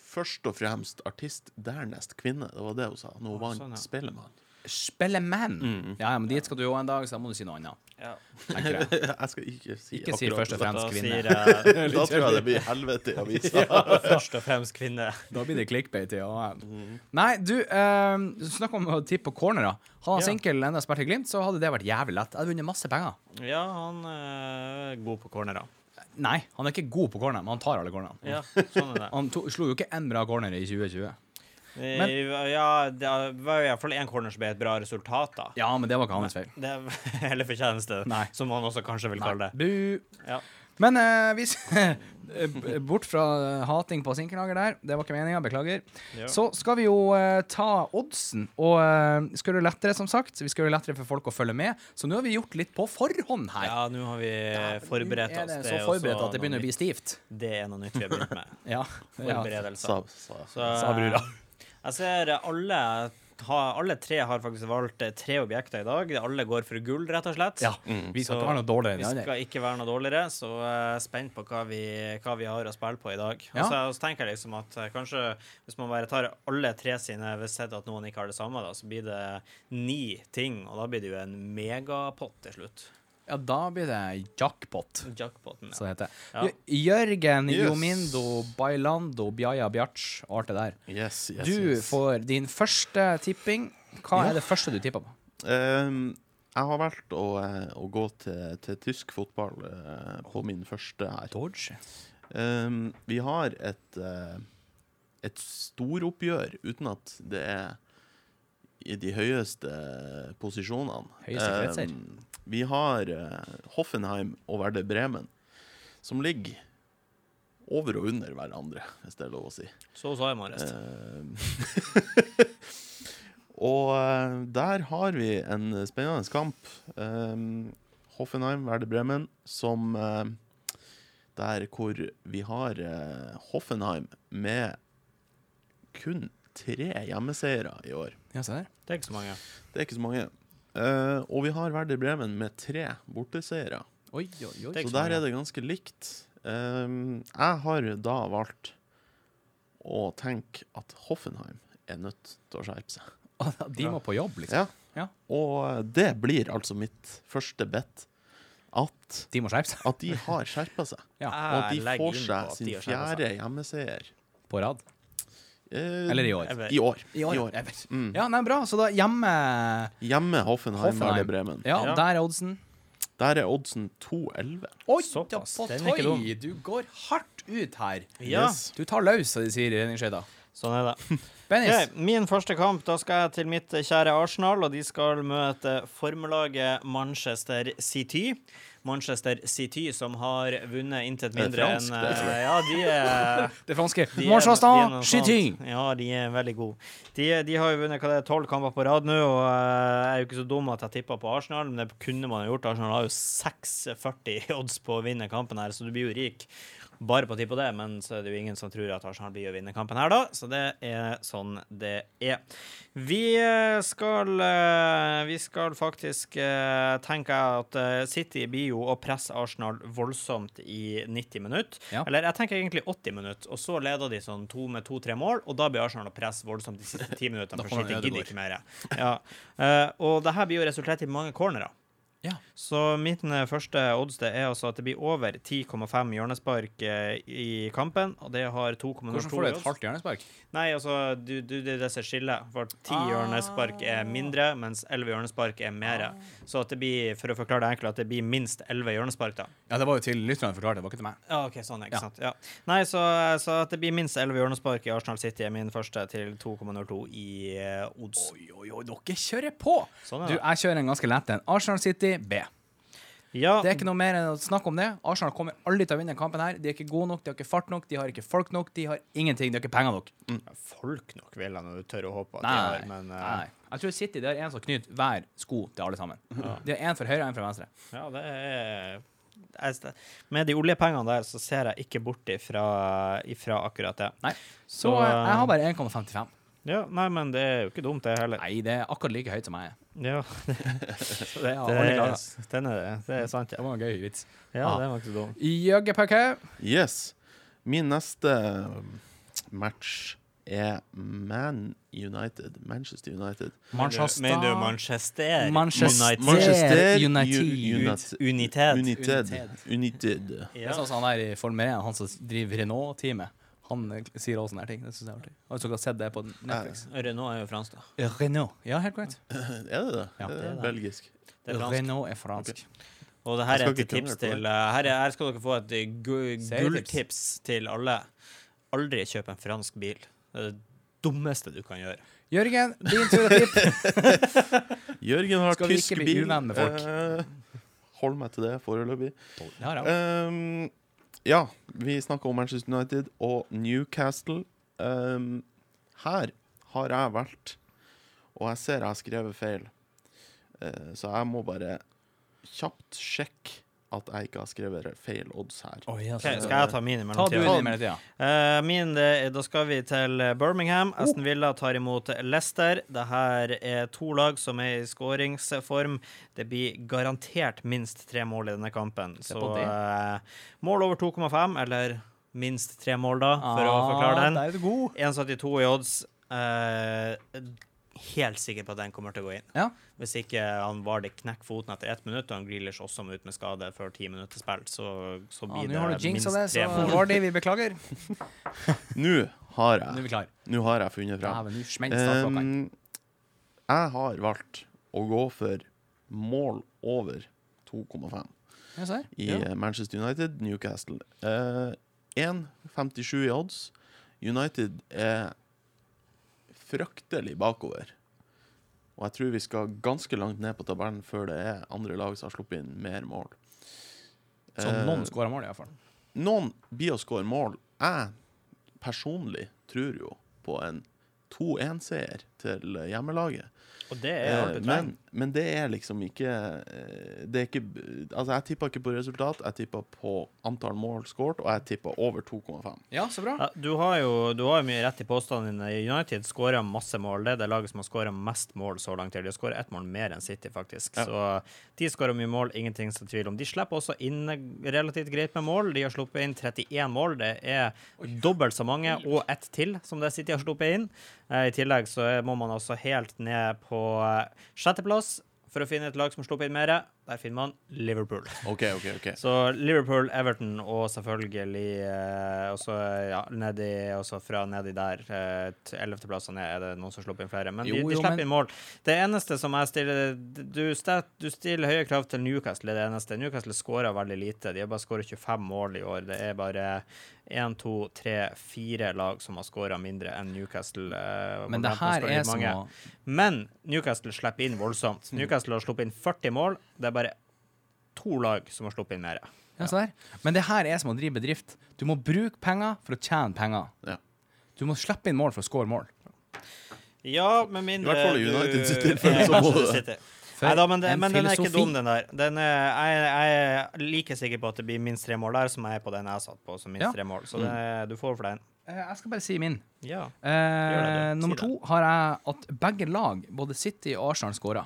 Speaker 4: først og fremst artist, dernest kvinne. Det var det hun sa. Når hun vant
Speaker 2: sånn, ja.
Speaker 4: Spellemann.
Speaker 3: Spellemann.
Speaker 2: Mm.
Speaker 3: Ja, ja, men dit skal du jo en dag, så da må du si noe annet.
Speaker 2: Ja.
Speaker 3: tenker jeg.
Speaker 4: Jeg skal ikke si
Speaker 3: Ikke si først
Speaker 4: akkurat
Speaker 3: og
Speaker 2: Da
Speaker 4: det.
Speaker 3: fremst
Speaker 2: sier
Speaker 3: kvinne.
Speaker 2: jeg
Speaker 4: Da tror jeg det blir helvete i avisa.
Speaker 2: først og fremst kvinne.
Speaker 3: Da blir det clickbait i AM.
Speaker 2: Mm.
Speaker 3: Nei, du, eh, snakk om å tippe på cornerer. Hadde
Speaker 2: Ja.
Speaker 3: han Sinkel enda spilt i Glimt, så hadde det vært jævlig lett. Jeg hadde vunnet masse penger.
Speaker 2: Ja, han er god på cornerer.
Speaker 3: Nei, han er ikke god på corner, men han tar alle cornerne.
Speaker 2: Ja, sånn er det.
Speaker 3: Han to, slo jo ikke én bra corner i 2020. Men-
Speaker 2: Eh, ja, det var i hvert fall én corner som ble et bra resultat, da.
Speaker 3: Ja, men det var ikke hans feil.
Speaker 2: Det, eller fortjeneste,
Speaker 3: Nei.
Speaker 2: som man også kanskje vil kalle det.
Speaker 3: Bu.
Speaker 2: Ja.
Speaker 3: Men eh, hvis eh, Bort fra eh, hating på Sinkelhager der, det var ikke meninga, beklager.
Speaker 2: Ja.
Speaker 3: Så skal vi jo eh, ta oddsen, og eh, skal gjøre det lettere, som sagt. Vi skal gjøre det lettere for folk å følge med, så nå har vi gjort litt på forhånd her.
Speaker 2: Ja, nå har vi forberedt
Speaker 3: Nå
Speaker 2: oss.
Speaker 3: Er det
Speaker 2: er
Speaker 3: så
Speaker 2: også
Speaker 3: forberedt at det
Speaker 2: noe
Speaker 3: begynner å bli
Speaker 2: nytt.
Speaker 3: stivt.
Speaker 2: Det er noe nytt vi har begynt med.
Speaker 3: Ja. ja.
Speaker 2: Forberedelser.
Speaker 4: Sa, sa,
Speaker 2: Så, eh, Jeg ser alle, ha, alle tre har faktisk valgt eh, tre objekter i dag. Alle går for gull, rett og slett.
Speaker 3: ja. Vi skal
Speaker 2: Mm. Så
Speaker 3: ikke være noe dårligere
Speaker 2: Vi
Speaker 3: enn de andre.
Speaker 2: skal ikke være noe dårligere, så jeg er spent på hva vi, hva vi har å spille på i dag. Og
Speaker 3: Ja.
Speaker 2: så og så tenker jeg liksom at eh, kanskje hvis man bare tar alle tre sine, hvis sett at noen ikke har det samme, da, så blir det ni ting, og da blir det jo en megapott til slutt.
Speaker 3: Ja, da blir det jackpot.
Speaker 2: Jackpotten,
Speaker 3: Så
Speaker 2: ja.
Speaker 3: det heter.
Speaker 2: Ja.
Speaker 3: Jø- Jørgen
Speaker 4: Yes.
Speaker 3: Jomindo Bailando Bjaja Bjarts og alt det der.
Speaker 4: Yes, yes,
Speaker 3: Du
Speaker 4: yes.
Speaker 3: får din første tipping. Hva er det første du tipper på?
Speaker 4: Ehm, jeg har valgt å, eh, å gå til, til tysk fotball eh, på min første her.
Speaker 3: Dodge.
Speaker 4: Ehm, vi har et, eh, et storoppgjør uten at det er i de høyeste posisjonene.
Speaker 3: Høyeste kretser.
Speaker 4: Eh, vi har eh, Hoffenheim og Werder Bremen, som ligger over og under hverandre, hvis det er lov å si.
Speaker 2: Så sa jeg i morges.
Speaker 4: Eh, og eh, der har vi en spennende kamp. Eh, Hoffenheim, Werder Bremen, som eh, Der hvor vi har eh, Hoffenheim med kun tre hjemmeseiere i år.
Speaker 3: Ja, se der.
Speaker 2: Det er ikke så mange.
Speaker 4: Det er ikke så mange. Eh, og vi har Werder Bremen med tre borteseiere.
Speaker 3: Oi, oi, oi.
Speaker 2: Det er
Speaker 4: Så
Speaker 2: ikke så
Speaker 4: der
Speaker 2: mange.
Speaker 4: er det ganske likt. Ehm, jeg har da valgt å tenke at Hoffenheim er nødt til å skjerpe seg.
Speaker 3: De må på jobb, liksom.
Speaker 4: Ja.
Speaker 3: Ja.
Speaker 4: Og det blir altså mitt første bet. At,
Speaker 3: De må skjerpe seg
Speaker 4: at de har skjerpa seg. Og at
Speaker 2: Jeg
Speaker 4: de
Speaker 2: legger
Speaker 4: får
Speaker 2: inn på
Speaker 4: seg
Speaker 2: at
Speaker 4: sin
Speaker 2: de har skjerpet
Speaker 4: fjerde hjemmeseier.
Speaker 3: på rad.
Speaker 2: Mm.
Speaker 4: Eh,
Speaker 3: Eller i år.
Speaker 2: seg.
Speaker 4: I år.
Speaker 3: I år.
Speaker 4: I år.
Speaker 3: Jeg vet.
Speaker 2: Mm.
Speaker 3: Ja, nei, bra. Så da hjemme
Speaker 4: Hjemme Hoffenheim, Werder Bremen.
Speaker 3: Ja,
Speaker 2: Ja.
Speaker 3: der er oddsen.
Speaker 4: Der er oddsen 2-11.
Speaker 3: Oi,
Speaker 2: Såpass.
Speaker 3: da på
Speaker 2: Den er ikke dum.
Speaker 3: tøy. Du går hardt ut her.
Speaker 2: Ja,
Speaker 4: Yes.
Speaker 3: Du tar løs, som de sier i redningsskøyta.
Speaker 2: sånn er det.
Speaker 3: Bennis,
Speaker 2: Ok, min første kamp, da skal jeg til mitt kjære Arsenal, og de skal møte formelaget Manchester City. Manchester City som har vunnet intet
Speaker 4: Er det
Speaker 2: mindre enn eh,
Speaker 4: fransk, det, tror jeg?
Speaker 2: Ja, de er
Speaker 3: det franske
Speaker 2: de er- de er
Speaker 3: Manchester
Speaker 2: noe sånt.
Speaker 3: City.
Speaker 2: Ja, de er veldig gode. De, de har jo vunnet hva det er, tolv kamper på rad nå, og eh, jeg er jo ikke så dum at jeg tippa på Arsenal, men det kunne man jo gjort. Arsenal har jo 6,40 i odds på å vinne kampen her, så du blir jo rik bare på å tippe det. Men så er det jo ingen som tror at Arsenal blir å vinne kampen her, da. Så det er sånn det er. Vi eh, skal eh, Vi skal faktisk eh, tenke at eh, City blir jo å presse Arsenal voldsomt i 90 minutter.
Speaker 3: Ja.
Speaker 2: Eller jeg tenker egentlig 80 minutter, og så leder de sånn to med to-tre mål, og da blir Arsenal å presse voldsomt de siste ti minuttene, for
Speaker 3: kommer
Speaker 2: City
Speaker 3: Ødegaard.
Speaker 2: gidder ikke mer. Ja. Eh, og det her blir jo resultert i mange cornerer.
Speaker 3: Ja.
Speaker 2: Så mitt eh, første odds det er altså at det blir over 10,5 hjørnespark eh, i kampen, og det har 2,02
Speaker 3: Hvordan får du
Speaker 2: i
Speaker 3: et
Speaker 2: odds.
Speaker 3: hardt hjørnespark?
Speaker 2: Nei, altså, du, du, det er det som er skillet. For ti
Speaker 3: Ah.
Speaker 2: hjørnespark er mindre, mens elleve hjørnespark er mer. Så at det blir, for å forklare det enkelt, at det blir minst elleve hjørnespark, da.
Speaker 3: Ja, det var jo til lytterne forklarte, det var ikke til meg.
Speaker 2: Ja, ok, sånn, ikke
Speaker 3: Ja.
Speaker 2: sant. Ja. Nei, så, så at det blir minst elleve hjørnespark i Arsenal City er min første til 2,02 i eh, odds.
Speaker 3: Oi, oi, oi, dere kjører på!
Speaker 2: Sånn er
Speaker 3: Du,
Speaker 2: det.
Speaker 3: jeg kjører en ganske lett en. Arsenal City B.
Speaker 2: Ja,
Speaker 3: Det er ikke noe mer enn å snakke om det. Arsenal kommer aldri til å vinne kampen her. De er ikke gode nok, de har ikke fart nok, de har ikke folk nok, de har ingenting, de har ikke penger nok.
Speaker 2: folk nok vil jeg nå tørre å håpe at
Speaker 3: Nei.
Speaker 2: de har, men eh,
Speaker 3: Nei. Jeg tror City det er en som knyter hver sko til alle sammen. De har én for høyre og én for venstre.
Speaker 2: Ja, det er jeg st- Med de oljepengene der, så ser jeg ikke bort ifra, ifra akkurat det.
Speaker 3: Nei. Så,
Speaker 2: Så,
Speaker 3: eh, jeg har bare 1,55.
Speaker 2: Ja, nei, men det er jo ikke dumt, det heller.
Speaker 3: Nei, det er akkurat like høyt som jeg er.
Speaker 2: Ja, det,
Speaker 3: Så det er
Speaker 2: det,
Speaker 3: alle
Speaker 2: er,
Speaker 3: glade.
Speaker 2: den er det. Det er sant, ja.
Speaker 3: Det var en gøy vits.
Speaker 2: Ja, det var ikke så dumt.
Speaker 3: Jøggepakke.
Speaker 4: Yes. Min neste um, match er Man United. Manchester United.
Speaker 2: Mener du Manchester?
Speaker 3: Manchester.
Speaker 2: United?
Speaker 3: Manchester
Speaker 4: U-
Speaker 3: United.
Speaker 4: United.
Speaker 2: Unitet.
Speaker 4: United. United.
Speaker 3: Det er
Speaker 2: Ja.
Speaker 3: sånn som han der i Formel 1, han som driver Renault-teamet. Han eh, sier også sånne her ting. Det synes jeg er artig. Har dere sett det på Netflix?
Speaker 2: Renault er jo fransk, da.
Speaker 3: Renault. Ja, helt korrekt.
Speaker 4: Er det det?
Speaker 3: Ja,
Speaker 4: det
Speaker 3: det
Speaker 4: er
Speaker 2: det.
Speaker 4: belgisk.
Speaker 2: Det er fransk.
Speaker 3: Renault er fransk.
Speaker 2: Og det her er
Speaker 4: Jeg skal
Speaker 2: et
Speaker 4: ikke
Speaker 2: tips
Speaker 4: krangle på det.
Speaker 2: til eh, her, er, her skal dere få et eh, gu-
Speaker 3: Serietips.
Speaker 2: gulltips til alle. Aldri kjøp en fransk bil. Det er det dummeste du kan gjøre.
Speaker 3: Jørgen, din tur å tippe.
Speaker 4: Jørgen har
Speaker 3: Skal vi
Speaker 4: tysk
Speaker 3: ikke bli
Speaker 4: bil.
Speaker 3: uvenn med folk?
Speaker 4: Eh, hold meg til det foreløpig.
Speaker 3: Ja, ja.
Speaker 4: Um, ja, vi snakka om Manchester United og Newcastle. Um, her har jeg valgt, og jeg ser jeg har skrevet feil, Eh, så jeg må bare kjapt sjekke at jeg ikke har skrevet feil odds her.
Speaker 3: Oi, altså.
Speaker 2: Ok, skal jeg ta min i
Speaker 3: Ta du
Speaker 2: mellomtida?
Speaker 3: den i mellomtida.
Speaker 2: Eh, min, det, er- da skal vi til eh, Birmingham.
Speaker 3: Oh.
Speaker 2: Aston Villa tar imot Leicester. Det her er to lag som er i skåringsform. Det blir garantert minst tre mål i denne kampen.
Speaker 3: Se
Speaker 2: Så
Speaker 3: på det.
Speaker 2: eh, mål over 2,5, eller minst tre mål, da, for å forklare den.
Speaker 3: Ah, Der er du god.
Speaker 2: 1,72 i odds. Eh, helt sikker på at den kommer til å gå inn.
Speaker 3: Ja.
Speaker 2: Hvis ikke han var det knekk foten etter ett minutt, og han Grealish også må ut med skade før ti minutter spilt, så, så
Speaker 3: Ah,
Speaker 2: blir
Speaker 3: Nå har du
Speaker 2: det minst
Speaker 3: jinxa det, så
Speaker 2: tre mål.
Speaker 3: Vardy, vi beklager. Nå
Speaker 4: Nå har
Speaker 3: er vi
Speaker 4: jeg,
Speaker 3: klar.
Speaker 4: nå har jeg funnet fram.
Speaker 3: Dæven, nå smeller startklokka.
Speaker 2: Ehm,
Speaker 4: Um, jeg har valgt å gå for mål over 2,5
Speaker 3: Ja, se her.
Speaker 4: i
Speaker 3: Ja.
Speaker 4: eh, Manchester United, Newcastle. Eh, 1,57 i odds. United er fryktelig bakover. Og jeg tror vi skal ganske langt ned på tabellen før det er andre lag som har sluppet inn mer mål.
Speaker 3: Så
Speaker 4: Eh,
Speaker 3: noen skårer mål, iallfall.
Speaker 4: noen blir å skåre mål. Jeg personlig tror jo på en 2-1-seier til hjemmelaget.
Speaker 2: Og det er
Speaker 4: Eh,
Speaker 2: alltid
Speaker 4: men,
Speaker 2: treng.
Speaker 4: men det er liksom ikke eh, Det er ikke Altså, jeg tippa ikke på resultat. Jeg tippa på antall mål skåret, og jeg tippa over 2,5.
Speaker 3: Ja, så bra.
Speaker 2: Ja, du, har jo, du har jo mye rett i påstanden din. United skårer masse mål. Det er det laget som har skåra mest mål så langt. De har skåra ett mål mer enn City, faktisk.
Speaker 4: Ja.
Speaker 2: Så de skårer mye mål, ingenting som tvil om. De slipper også inn relativt greit med mål. De har sluppet inn 31 mål. Det er dobbelt så mange, og ett til, som det City har sluppet inn. Eh, I tillegg så er- må man altså helt ned på eh, sjetteplass for å finne et lag som har sluppet inn mer. Der finner man Liverpool.
Speaker 4: OK, OK. ok
Speaker 2: Så Liverpool, Everton og selvfølgelig eh, også, ja, nedi, også fra nedi der, eh, til 11. plass og ned, er det noen som slipper inn flere. Men de,
Speaker 3: Jo,
Speaker 2: de
Speaker 3: jo,
Speaker 2: slipper
Speaker 3: men-
Speaker 2: inn mål. Det eneste som jeg stiller Du, sta- du stiller høye krav til Newcastle, det er det eneste. Newcastle skårer veldig lite. De har bare skåret 25 mål i år. Det er bare én, to, tre, fire lag som har skåra mindre enn Newcastle. eh,
Speaker 3: Men det
Speaker 2: Wolverhampton
Speaker 3: her
Speaker 2: skårer
Speaker 3: er
Speaker 2: litt
Speaker 3: som
Speaker 2: mange.
Speaker 3: å
Speaker 2: Men Newcastle slipper inn voldsomt. Newcastle har sluppet inn 40 mål. Det er bare to lag som har sluppet inn mer.
Speaker 3: Ja, se der. Men det her er som å drive bedrift. Du må bruke penger for å tjene penger.
Speaker 4: Ja.
Speaker 3: Du må slippe inn mål for å score mål.
Speaker 2: Ja, med mindre
Speaker 4: I hvert fall i United sitt
Speaker 2: du-
Speaker 4: tilfelle, så
Speaker 2: Ja,
Speaker 4: må du det.
Speaker 2: City. Neida, men, det,
Speaker 3: en
Speaker 2: men den er ikke
Speaker 3: filosofi.
Speaker 2: dum, den der. Den er, jeg, jeg er like sikker på at det blir minst tre mål der, som jeg er på den jeg satt på som minst
Speaker 3: Ja. Mm.
Speaker 2: tre mål. Så det, du får for den.
Speaker 3: Eh, Jeg skal bare si min.
Speaker 2: Ja.
Speaker 3: Eh,
Speaker 2: det. Si
Speaker 3: nummer
Speaker 2: det.
Speaker 3: to har jeg at begge lag, både City og Arsenal, skårer.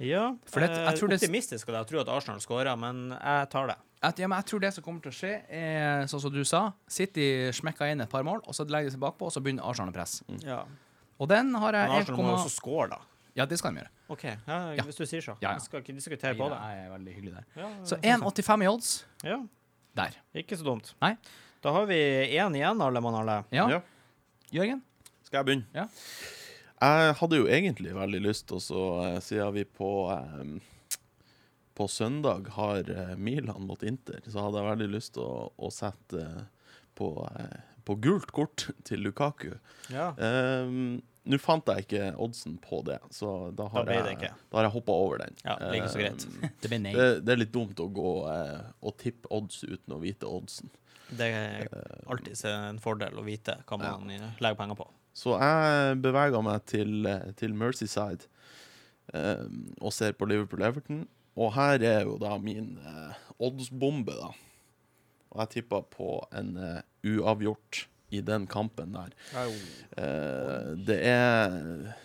Speaker 2: ja
Speaker 3: For det- jeg
Speaker 2: eh,
Speaker 3: tror det-
Speaker 2: optimistisk av deg å tro at Arsenal skårer, men jeg tar det.
Speaker 3: At, ja, men jeg tror det som kommer til å skje, er sånn som du sa. City smekker inn et par mål, og så legger de seg bakpå, og så begynner Arsenal å presse.
Speaker 4: Mm.
Speaker 2: Ja.
Speaker 3: Og den har
Speaker 2: Mm. Men
Speaker 3: jeg
Speaker 2: Arsenal må jo
Speaker 3: 1,1
Speaker 2: også score, da.
Speaker 3: Ja, det skal de gjøre.
Speaker 2: OK, ja, hvis du sier så.
Speaker 3: Ja, ja.
Speaker 2: Jeg skal ikke diskutere på det.
Speaker 3: Jeg er veldig hyggelig der.
Speaker 2: Ja,
Speaker 3: Så 1,85 i odds
Speaker 2: ja,
Speaker 3: der.
Speaker 2: ikke så dumt.
Speaker 3: Nei.
Speaker 2: Da har vi én igjen, alle mann alle.
Speaker 3: Ja.
Speaker 4: Ja.
Speaker 3: Jørgen?
Speaker 4: Skal jeg begynne?
Speaker 3: Ja.
Speaker 4: Jeg hadde jo egentlig veldig lyst til å eh, Siden vi på eh, På søndag har eh, Milan mot Inter, så hadde jeg veldig lyst til å, å sette eh, på, eh, på gult kort til Lukaku.
Speaker 2: Ja.
Speaker 4: Ehm, Nå fant jeg ikke oddsen på det, så da har
Speaker 2: Da ble det
Speaker 4: jeg,
Speaker 2: ikke.
Speaker 4: da har jeg hoppa over den.
Speaker 2: Ja, like så greit.
Speaker 4: Ehm,
Speaker 3: Det blir nei.
Speaker 4: det, det er litt dumt å gå eh, og tippe odds uten å vite oddsen.
Speaker 2: Det er alltid en fordel å vite hva man legger penger på.
Speaker 4: Så jeg beveger meg til, eh, til Merseyside eh, og ser på Liverpool-Everton. Og her er jo da min eh, oddsbombe, da. Og jeg tippa på en eh, uavgjort i den kampen der. Eh, det er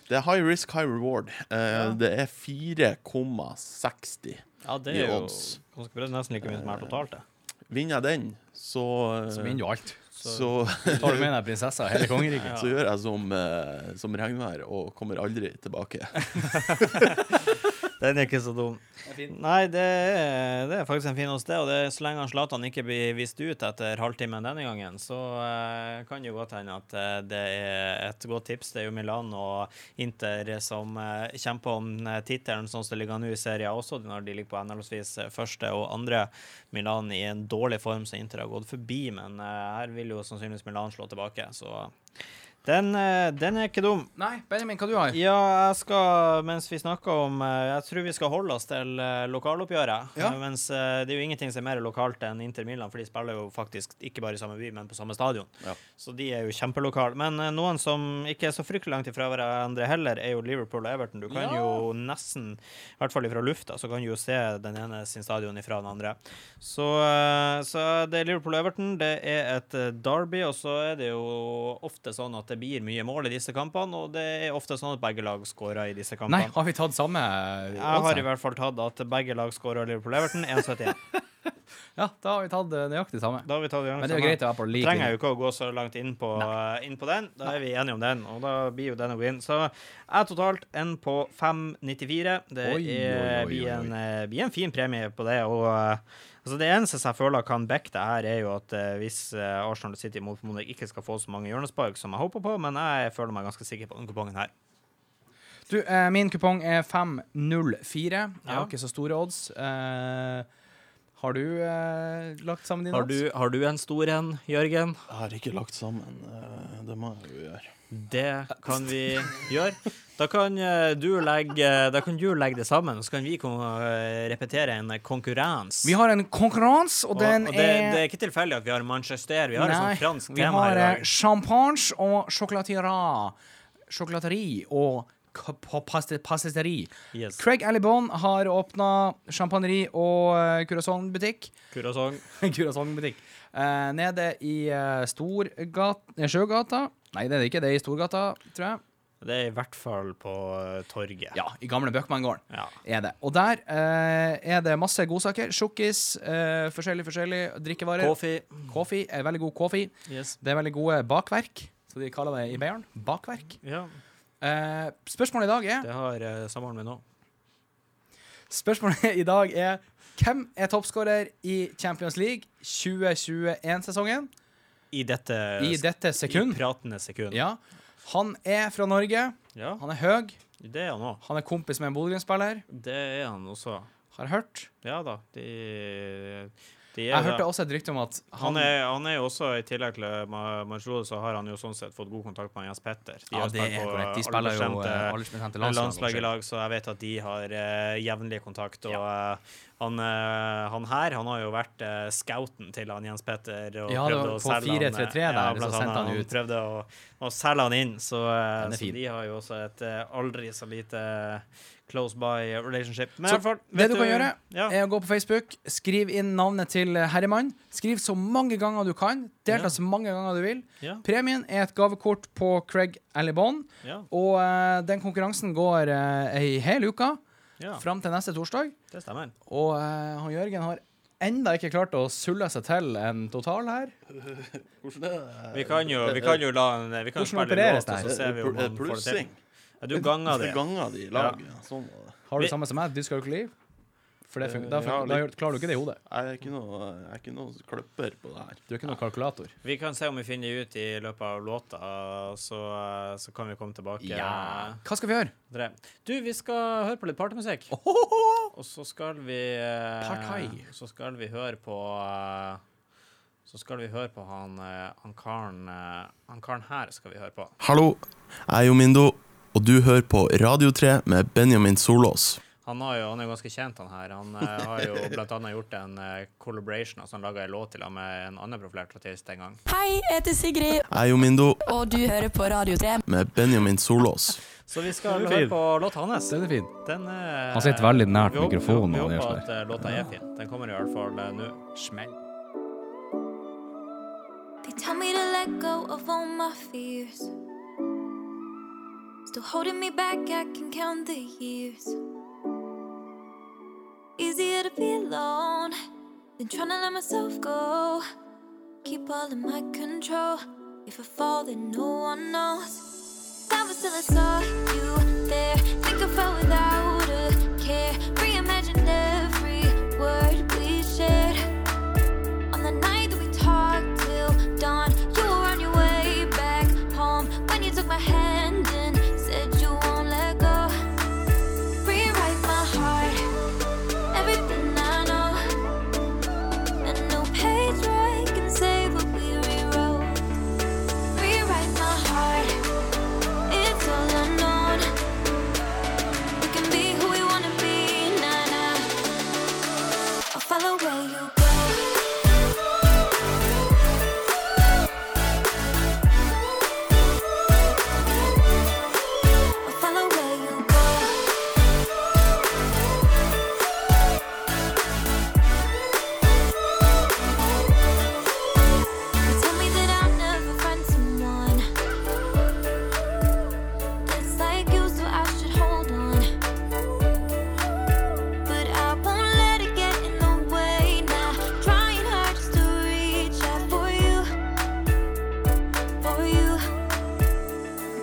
Speaker 4: Det er high risk, high reward. Eh, Det er 4,60.
Speaker 2: Ja, det
Speaker 4: I
Speaker 2: er jo
Speaker 4: odds.
Speaker 2: ganske bra. Det er Nesten like mye som er totalt, det.
Speaker 4: Vinner jeg den, så eh,
Speaker 3: Så vinner du alt.
Speaker 4: så,
Speaker 3: Tar du med deg prinsessa og hele kongeriket?
Speaker 4: så gjør jeg som, eh, som regnvær og kommer aldri tilbake.
Speaker 2: Den er ikke så dum. Nei, det er, det er faktisk en fin hos det. Og det, er så lenge han Zlatan ikke blir vist ut etter halvtimen denne gangen, så eh, kan det jo godt hende at eh, det er et godt tips. Det er jo Milan og Inter som eh, kjemper om eh, tittelen, sånn som det ligger an nå i serien også, når de ligger på henholdsvis eh, første og andre. Milan i en dårlig form, så Inter har gått forbi, men eh, her vil jo sannsynligvis Milan slå tilbake, så den, eh, den er ikke dum.
Speaker 3: Nei, Benjamin, hva du har
Speaker 2: Ja, jeg skal, mens vi snakker om eh, Jeg tror vi skal holde oss til eh, lokaloppgjøret.
Speaker 3: Ja.
Speaker 2: Eh, Mens eh, det er jo ingenting som er mer lokalt enn Inter Milan, for de spiller jo faktisk ikke bare i samme by, men på samme stadion.
Speaker 4: Ja.
Speaker 2: Så de er jo kjempelokale. Men eh, noen som ikke er så fryktelig langt ifra hverandre heller, er jo Liverpool og Everton. Du kan
Speaker 3: Ja.
Speaker 2: jo nesten, i hvert fall ifra lufta, så kan du jo se den ene sin stadion ifra den andre. Så, eh, så det er Liverpool og Everton. Det er et eh, derby, og så er det jo ofte sånn at det blir mye mål i disse kampene, og det er ofte sånn at begge lag skårer i disse
Speaker 3: Nei,
Speaker 2: kampene.
Speaker 3: har vi tatt samme
Speaker 2: Jeg har i
Speaker 3: oddsen?
Speaker 2: hvert fall tatt at begge lag skårer Liverpool og Everton 1,71.
Speaker 3: Ja, da har vi tatt eh, nøyaktig samme.
Speaker 2: Da har vi tatt i gang
Speaker 3: Men det er jo
Speaker 2: sammen.
Speaker 3: greit å være på lik
Speaker 2: trenger
Speaker 3: linje.
Speaker 2: jeg jo ikke å gå så langt inn på, eh, inn på den. Da er vi enige om den, og da blir jo den å gå inn. Så jeg totalt en på 5,94. Det
Speaker 3: Oi, oi,
Speaker 2: er-
Speaker 3: oi,
Speaker 2: blir
Speaker 3: oi,
Speaker 2: en, eh, blir en fin premie på det. og... eh, Altså det eneste som jeg føler kan backe det her, er jo at eh, hvis eh, Arsenal og City mot formodning ikke skal få så mange hjørnespark som jeg håper på, men jeg føler meg ganske sikker på den kupongen her.
Speaker 3: Du, eh, min kupong er 504. Jeg
Speaker 2: Ja.
Speaker 3: har ikke så store odds. Eh, Har du eh, lagt sammen din
Speaker 2: Har du, har du en stor en, Jørgen?
Speaker 4: Jeg har ikke lagt sammen. eh, Det må jeg jo gjøre.
Speaker 2: Det kan vi gjøre. Da kan eh, du legge, da kan du legge det sammen, så kan vi kon- eh, repetere en konkurranse.
Speaker 3: Vi har en konkurranse, og,
Speaker 2: og,
Speaker 3: den
Speaker 2: og det,
Speaker 3: er
Speaker 2: det er ikke tilfeldig at vi har Manchester. Vi har et
Speaker 3: Nei,
Speaker 2: sånt fransk
Speaker 3: vi
Speaker 2: tema
Speaker 3: har
Speaker 2: her i
Speaker 3: eh,
Speaker 2: dag.
Speaker 3: champagne og sjokolatera. Sjokolateri og k- pa- paste- pastisteri.
Speaker 2: Yes.
Speaker 3: Craig Alibon har åpna champagneri og uh, Curasong-butikk.
Speaker 2: Kurasong.
Speaker 3: Curasong-butikk. Eh, nede i eh, Storgat... eh, Sjøgata. Nei, det er det ikke. Det er i Storgata, tror jeg.
Speaker 2: Det er i hvert fall på eh, torget.
Speaker 3: Ja, i gamle Bøkmanngården.
Speaker 2: Ja.
Speaker 3: Er det. Og der eh, er det masse godsaker. Sjokkis, eh, forskjellig, forskjellig. Drikkevarer.
Speaker 2: Coffee.
Speaker 3: Kåfi er veldig god kåfi.
Speaker 2: Yes.
Speaker 3: Det er veldig gode bakverk, som de kaller det i Beiarn. Bakverk.
Speaker 2: Ja,
Speaker 3: Eh, spørsmålet i dag er
Speaker 2: det har eh, samboeren min òg.
Speaker 3: Spørsmålet i dag er Hvem er toppskårer i Champions League 2021-sesongen?
Speaker 2: I dette,
Speaker 3: I dette sekund.
Speaker 2: I pratende sekund.
Speaker 3: Ja. Han er fra Norge.
Speaker 2: Ja,
Speaker 3: Han er høy.
Speaker 2: Det er han òg.
Speaker 3: Han er kompis med en Bodø-Glimt-spiller.
Speaker 2: Det er han også.
Speaker 3: Har hørt.
Speaker 2: Ja da. De, de er
Speaker 3: Jeg
Speaker 2: det.
Speaker 3: hørte også et rykte om at
Speaker 2: Han
Speaker 3: han,
Speaker 2: er, han er jo også, i tillegg til eh, Ma- Marcelo, så har han jo sånn sett fått god kontakt med Jens Petter. De
Speaker 3: Ja,
Speaker 2: har
Speaker 3: det er
Speaker 2: spilt på,
Speaker 3: korrekt.
Speaker 2: eh,
Speaker 3: De spiller jo
Speaker 2: aldersbestemte
Speaker 3: eh, aldersbestemte landslag.
Speaker 2: landslag i lag, så jeg vet at de har eh, jevnlig kontakt. Og eh, han, eh, han her han har jo vært eh, scouten til han Jens Petter. Og
Speaker 3: Ja, det
Speaker 2: prøvde
Speaker 3: var
Speaker 2: å
Speaker 3: på
Speaker 2: selge han, eh,
Speaker 3: 4-3-3
Speaker 2: ja,
Speaker 3: der,
Speaker 2: blant
Speaker 3: så sendte
Speaker 2: annet.
Speaker 3: han ut.
Speaker 2: Han prøvde å, å selge han inn, så, eh,
Speaker 3: Den er fin.
Speaker 2: så de har jo også et eh, aldri så lite eh, close by relationship. Men
Speaker 3: Så
Speaker 2: i hvert fall,
Speaker 3: det
Speaker 2: vet
Speaker 3: du kan gjøre, eh,
Speaker 2: ja.
Speaker 3: er å gå på Facebook, skriv inn navnet til eh, herremann. Skriv så mange ganger du kan.
Speaker 2: Ja.
Speaker 3: Delta så mange ganger du vil.
Speaker 2: Ja,
Speaker 3: Premien er et gavekort på Craig Alibon,
Speaker 2: ja,
Speaker 3: og eh, den konkurransen går eh, ei hel uke,
Speaker 2: ja,
Speaker 3: fram til neste torsdag.
Speaker 2: det stemmer.
Speaker 3: Og eh, han Jørgen har enda ikke klart å sulle seg til en total her.
Speaker 4: Hvordan er det?
Speaker 2: Vi kan jo, vi kan jo la han Vi kan
Speaker 3: Hvordan
Speaker 2: spille
Speaker 3: opereres
Speaker 2: låt,
Speaker 3: det
Speaker 2: og
Speaker 3: her?
Speaker 2: så ser vi om
Speaker 4: Er det
Speaker 2: han får det til.
Speaker 4: Eh, plussing?
Speaker 2: Ja, du ganger det.
Speaker 4: Ganger de i lag, ja. Sånn var det.
Speaker 3: Har du
Speaker 2: Vi-
Speaker 3: samme som meg? Dyskalkuli? For det funker. Da,
Speaker 4: Eh, Ja,
Speaker 3: funker, da
Speaker 4: litt.
Speaker 3: gjør- klarer du ikke det i hodet.
Speaker 4: Jeg er ikke noe, jeg er ikke noe kløpper på det her.
Speaker 3: Du er ikke noen kalkulator.
Speaker 2: Vi kan se om vi finner det ut i løpet av låta, så, så kan vi komme tilbake.
Speaker 3: Hva skal vi gjøre?
Speaker 2: til det. Du, vi skal høre på litt partymusikk.
Speaker 3: Ohoho!
Speaker 2: Og så skal vi eh,
Speaker 3: Partai.
Speaker 2: Så skal vi høre på eh, Så skal vi høre på han, eh, han karen eh, Han karen her skal vi høre på.
Speaker 4: Hallo, jeg er Jomindo, og du hører på Radio 3 med Benjamin Solås.
Speaker 2: Han, har jo, han er jo ganske kjent, han her. Han eh, har jo blant annet gjort en eh, collaboration, altså han laga ei låt til han med en annen profilert artist en gang.
Speaker 6: Hei, jeg heter
Speaker 4: Jeg
Speaker 6: Sigrid,
Speaker 4: er Jomindo
Speaker 6: og du hører på Radio 3.
Speaker 4: med Benjamin Solås.
Speaker 2: Så vi skal
Speaker 3: Den er
Speaker 2: høre
Speaker 3: fin.
Speaker 2: på låta hans.
Speaker 3: Den er fin.
Speaker 2: Den er
Speaker 3: Han sitter veldig nært
Speaker 2: Vi håper-
Speaker 3: mikrofonen,
Speaker 2: Vi
Speaker 3: han
Speaker 2: håper
Speaker 3: gjør
Speaker 2: at eh, låta er fin. Den kommer i hvert fall eh, nå.
Speaker 3: Smell.
Speaker 7: They tell me to let go of all my fears. Still holding me back, I can count the years. Easier to be alone than trying to let myself go. Keep all in my control. If I fall, then no one knows. That was till I saw you there. Think I felt without a care. Reimagined every word we shared. On the night that we talked till dawn, you were on your way back home when you took my hand and said you won't let go. Rewrite my heart, everything I know. And no page right can save what we rewrote. Rewrite my heart, it's all unknown. We can be who we wanna be, nah nah. I'll follow where you go. I'll follow where you go. You tell me that I'll never find someone that's like you, so I should hold on. But I won't let it get in the way now. Trying hard just to reach out for you, for you.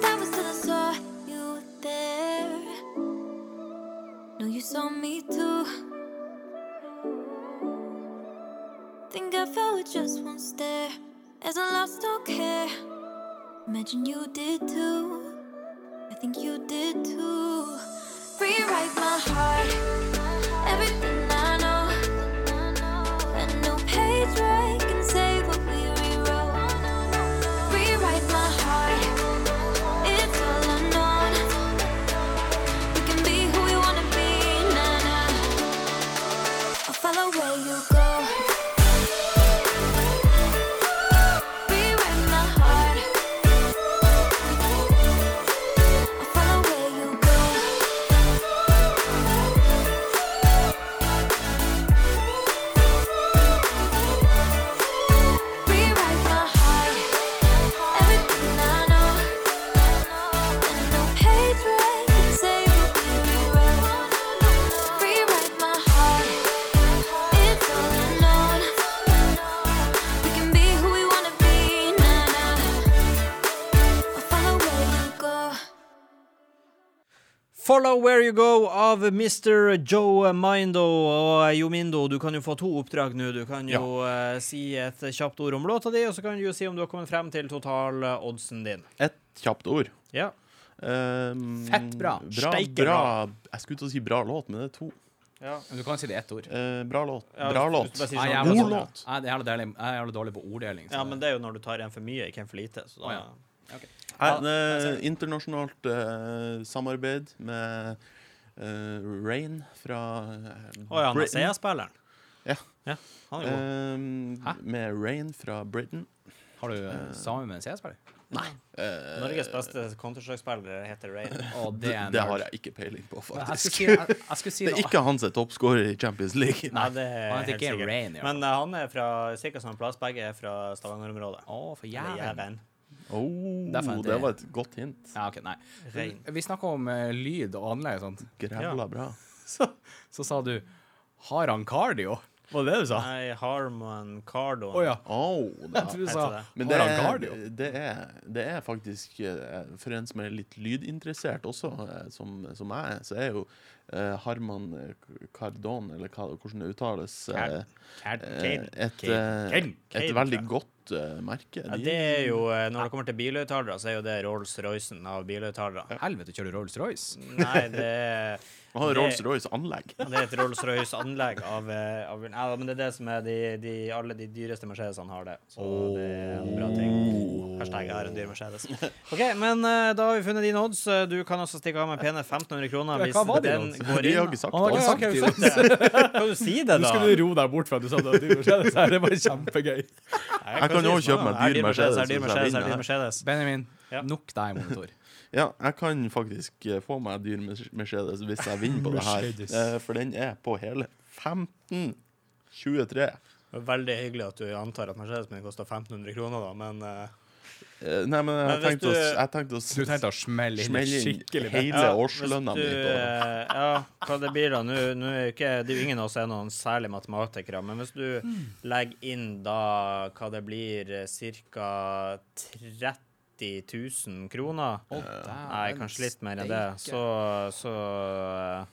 Speaker 7: That was till I saw you there. No, you saw me too. Think I fell with just one stare. As I lost all care. Imagine you did too. I think you did too. Rewrite my heart. Everything I know. off track and say what we rewrote. Rewrite my heart. It's all unknown. We can be who we wanna be. Nah, nah. I'll follow where you go. Rewrite my heart. I'll follow where you go. Rewrite my heart, everything I know. And no page where I say what we rewrote. Rewrite my heart, it's all unknown. We can be who we wanna be, nah nah. I'll follow where you go.
Speaker 2: Follow Where You Go av Mr. Joe Mindo og Jo Mindo. Du kan jo få to oppdrag nå. Du kan jo eh, si et kjapt ord om låta di, og så kan du jo si om du har kommet frem til total-oddsen din.
Speaker 4: Ett kjapt ord.
Speaker 2: Ja.
Speaker 4: Ehm,
Speaker 3: Fett bra.
Speaker 4: bra,
Speaker 2: Steike
Speaker 4: bra. Jeg skulle til å si bra låt, men det er to.
Speaker 2: ja.
Speaker 3: Men Du kan si det i ett ord.
Speaker 4: Eh, bra låt.
Speaker 2: Ja,
Speaker 4: Bra
Speaker 2: hvis-
Speaker 4: låt.
Speaker 2: hvis du bare sier
Speaker 3: Nei,
Speaker 2: sånn.
Speaker 3: jeg er
Speaker 4: God
Speaker 3: jævla
Speaker 2: Ja.
Speaker 4: låt.
Speaker 3: Nei, det er jævlig dårlig, jeg er jævlig dårlig på orddeling. så
Speaker 2: Ja, men det er jo når du tar en for mye, ikke en for lite. Så da,
Speaker 3: Å, ja.
Speaker 4: Her,
Speaker 3: Ja,
Speaker 4: eh,
Speaker 3: jeg ser det.
Speaker 4: internasjonalt eh, samarbeid med eh, Rain fra eh,
Speaker 2: Å ja,
Speaker 4: Britain.
Speaker 2: Nasea-spilleren.
Speaker 4: Ja.
Speaker 2: Han er god.
Speaker 4: Ehm,
Speaker 3: Hæ?
Speaker 4: med Rain fra Britain.
Speaker 3: Har du eh, sammen med en CS-spiller?
Speaker 4: Eh,
Speaker 2: Norges beste Counter-Strike-spiller heter Rain.
Speaker 3: Å,
Speaker 4: det,
Speaker 3: det, er en
Speaker 4: det
Speaker 3: nerd.
Speaker 4: har jeg ikke peiling på,
Speaker 3: Jeg skulle
Speaker 4: faktisk.
Speaker 3: si, jeg, jeg skulle si
Speaker 4: Det er
Speaker 3: noe.
Speaker 4: ikke han som er toppscorer i Champions League.
Speaker 2: Nei, det er
Speaker 3: han heter
Speaker 2: helt
Speaker 3: ikke
Speaker 2: sikkert.
Speaker 3: Rain, i hvert
Speaker 2: Men eh, han er fra cirka samme plass. Begge er fra Stavanger-området.
Speaker 3: Å, for
Speaker 2: Eller
Speaker 3: jævelen.
Speaker 2: Jæren.
Speaker 4: Oh,
Speaker 3: Der fant jeg
Speaker 4: det var et godt hint.
Speaker 3: Ja, ok, nei.
Speaker 2: Rein.
Speaker 3: Vi snakka om eh, lyd og anlegg og sånt.
Speaker 4: Grævla bra.
Speaker 3: Så, så sa du Har han cardio? Var det det du sa?
Speaker 2: Nei, Harmon Cardon.
Speaker 3: Å ja.
Speaker 4: Au, da.
Speaker 3: Jeg tror du
Speaker 2: heter
Speaker 3: sa
Speaker 2: det.
Speaker 4: Men det
Speaker 3: Har han
Speaker 4: er,
Speaker 3: cardio?
Speaker 4: det, er, det er faktisk eh, For en som er litt lydinteressert også, eh, som, som jeg er, så er jo eh, Harman Kardon, eller hva, hvordan det uttales, eh,
Speaker 2: Card-
Speaker 4: eh,
Speaker 2: Cade- Cade-
Speaker 4: et, eh,
Speaker 2: Cade- Cade,
Speaker 4: et
Speaker 2: tror
Speaker 4: veldig
Speaker 2: jeg.
Speaker 4: godt eh, merke.
Speaker 2: ja,
Speaker 4: De-
Speaker 2: det er jo, eh, Når det kommer til bilhøyttalere, så er jo det Rolls-Roycen av bilhøyttalere.
Speaker 3: Helvete, kjører du Rolls-Royce?
Speaker 2: Nei, det er
Speaker 4: de har
Speaker 2: det-
Speaker 4: Rolls-Royce anlegg.
Speaker 2: det er et Rolls-Royce-anlegg av, eh, av Nei, men det er det som er de, de Alle de dyreste Mercedesene har det. Så det er en bra ting.
Speaker 4: Oh.
Speaker 2: Hashtag jeg har en dyr Mercedes. OK, men eh, da har vi funnet dine odds. Eh, Du kan også stikke av med pene 1500 kroner
Speaker 3: Ja,
Speaker 2: hvis
Speaker 3: hva var dine
Speaker 2: den
Speaker 3: odds?
Speaker 2: går
Speaker 4: Vi har
Speaker 2: inn.
Speaker 4: ikke sagt
Speaker 3: Ah, ok, ok,
Speaker 4: det. Samtidig.
Speaker 3: sant.
Speaker 2: Kan du si det,
Speaker 3: Nå
Speaker 2: da?
Speaker 3: skal du ro deg bort fra at du sa det. Det er bare kjempegøy.
Speaker 4: Jeg kan jo kjøpe meg dyr Mercedes
Speaker 2: Er dyr
Speaker 4: hvis jeg
Speaker 2: Mercedes, er
Speaker 4: vinner
Speaker 2: dyr
Speaker 4: her.
Speaker 2: Mercedes.
Speaker 3: Benjamin,
Speaker 2: Ja.
Speaker 3: nok deg, monitor.
Speaker 4: Ja, jeg kan faktisk eh, få meg dyr Mer- Mercedes hvis jeg vinner på det her,
Speaker 3: Mercedes.
Speaker 4: eh, for den er på hele 1523.
Speaker 2: Veldig hyggelig at du antar at Mercedesen min koster 1500 kroner, da, men eh,
Speaker 4: Eh, Nei, men jeg
Speaker 2: Men hvis
Speaker 4: tenkte å s-
Speaker 2: du-
Speaker 4: jeg tenkte å s-
Speaker 3: Du tenkte å smelle inn
Speaker 4: smelle inn
Speaker 3: skikkelig med.
Speaker 4: hele årslønna mi
Speaker 2: hvis du,
Speaker 4: på
Speaker 2: eh, Ja, hva det blir da? Nå, nå er jo ikke, det er jo ingen av oss er noen særlig matematikere, men hvis du legger inn da hva det blir, eh, ca. 30 000 kroner Nei, kanskje litt mer enn det. Så, så eh,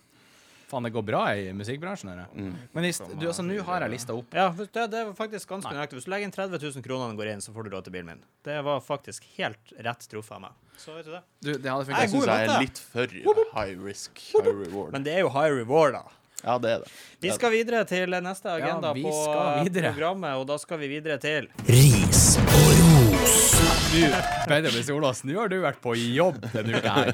Speaker 3: Faen, det går bra i musikkbransjen. Her. Men i st- du, altså, nå har jeg lista opp.
Speaker 2: Ja, det, det var faktisk ganske nøyaktig. Hvis du legger inn 30 000 kroner når den går inn, så får du råd til bilen min. Det var faktisk helt rett truffet av meg. Så vet du det.
Speaker 3: Du, det hadde
Speaker 4: Jeg
Speaker 3: funket.
Speaker 4: syns jeg er
Speaker 2: matte.
Speaker 4: litt for high risk, high reward.
Speaker 2: Men det er jo high reward, da.
Speaker 4: Ja, det er det.
Speaker 2: Vi skal videre til neste agenda
Speaker 3: vi
Speaker 2: på
Speaker 3: skal videre.
Speaker 2: programmet, og da skal vi videre til
Speaker 1: Ris og ros.
Speaker 3: Du, Benjamin Solåsen, nå har du vært på jobb denne uka her.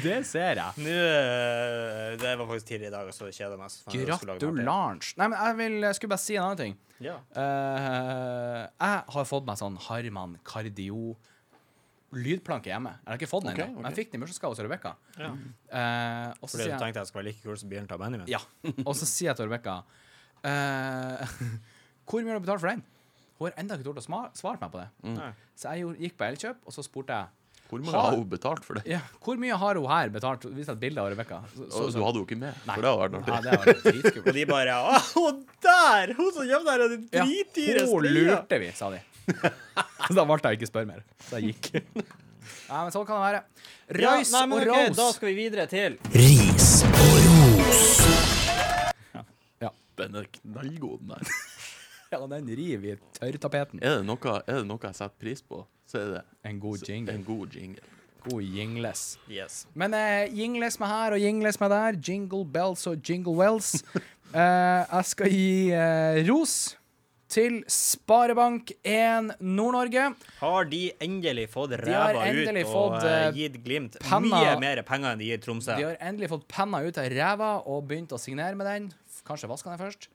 Speaker 3: Det ser jeg.
Speaker 2: Nå eh, Det var faktisk tidlig i dag, og så kjeder jeg meg. så jeg skulle lage mat igjen.
Speaker 3: Gratulange. Nei, men jeg, vil, jeg skulle bare si en annen ting.
Speaker 2: Ja.
Speaker 3: Eh, jeg har fått meg sånn Harman Kardio lydplanke hjemme. Jeg har ikke fått den
Speaker 4: Ok,
Speaker 3: ennå, men
Speaker 4: ok.
Speaker 3: jeg fikk den i bursdagsgave til Rebekka.
Speaker 2: Ja.
Speaker 3: Eh, og så
Speaker 2: Fordi
Speaker 3: sier
Speaker 2: du
Speaker 3: jeg
Speaker 2: tenkte jeg skulle være like kul som bilen til Benjamin?
Speaker 3: Ja. Og så sier jeg til Rebekka eh, Hvor mye har du betalt for den? Hun har ennå ikke tort å sma- svare meg på det.
Speaker 4: Mm.
Speaker 2: Nei.
Speaker 3: Så jeg gjorde- gikk på Elkjøp, og så spurte jeg
Speaker 4: Hvor mye
Speaker 3: Har-
Speaker 4: har hun betalt for det?
Speaker 3: ja, hvor mye har hun her betalt. Vis et bilde av Rebekka. Så- så-
Speaker 4: Og Du hadde jo ikke med, for det hadde vært
Speaker 3: Ja,
Speaker 4: artig.
Speaker 3: det var dritkult.
Speaker 2: Og de bare Å, hun der! Hun som jobber der, er den
Speaker 3: Ja,
Speaker 2: dritdyre
Speaker 3: hun lurte vi, sa de. Så da ble jeg ikke spørre mer. Så jeg gikk. Nei, men sånn kan det være.
Speaker 2: Ja,
Speaker 3: Røys
Speaker 2: nei, men
Speaker 3: og
Speaker 2: ok,
Speaker 3: rose.
Speaker 2: Da skal vi videre til
Speaker 1: Ris og ros.
Speaker 4: Den er knallgod, den der.
Speaker 3: Ja, den river i tørrtapeten.
Speaker 4: Er det noe, er det noe jeg setter pris på, så er det
Speaker 3: En god jingle.
Speaker 4: en god jingle.
Speaker 3: God jingles.
Speaker 2: Yes.
Speaker 3: Men eh, jingles med her og jingles med der. Jingle bells og jingle wells. Eh, jeg skal gi eh, ros til Sparebank1 Nord-Norge.
Speaker 2: Har de endelig fått
Speaker 3: har
Speaker 2: ræva
Speaker 3: endelig
Speaker 2: ut og
Speaker 3: fått,
Speaker 2: eh,
Speaker 3: eh,
Speaker 2: gitt Glimt mye
Speaker 3: penna-
Speaker 2: mer penger enn de gir Tromsø?
Speaker 3: De har endelig fått penna ut av ræva og begynt å signere med den. Kanskje vaska den først.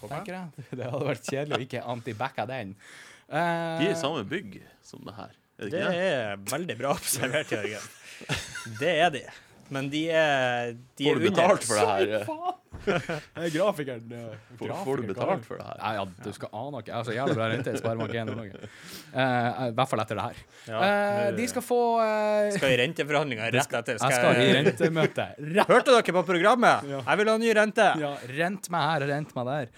Speaker 3: Tenker jeg. Det hadde vært kjedelig å ikke antibacka den. Eh,
Speaker 4: De er i samme bygg som det her. Er det
Speaker 2: Det
Speaker 4: ikke det?
Speaker 2: er veldig bra observert, Jørgen. Det er de. Men de er, de
Speaker 4: Får
Speaker 2: er
Speaker 4: du betalt for det her? eh?
Speaker 3: grafikeren.
Speaker 4: Får, får du betalt for det her?
Speaker 3: Ja, ja, du skal ane ikke. Jeg har så jævlig bra rente i Sparebank1 Nord-Norge. Eh, I hvert fall etter det her.
Speaker 2: Ja,
Speaker 3: Eh,
Speaker 2: det-
Speaker 3: de skal få eh,
Speaker 2: Skal i renteforhandlinger rett etter.
Speaker 3: Jeg skal i rentemøte. Rett.
Speaker 2: Hørte dere på programmet? Jeg vil ha ny rente.
Speaker 3: Ja, rent meg her og rent meg der.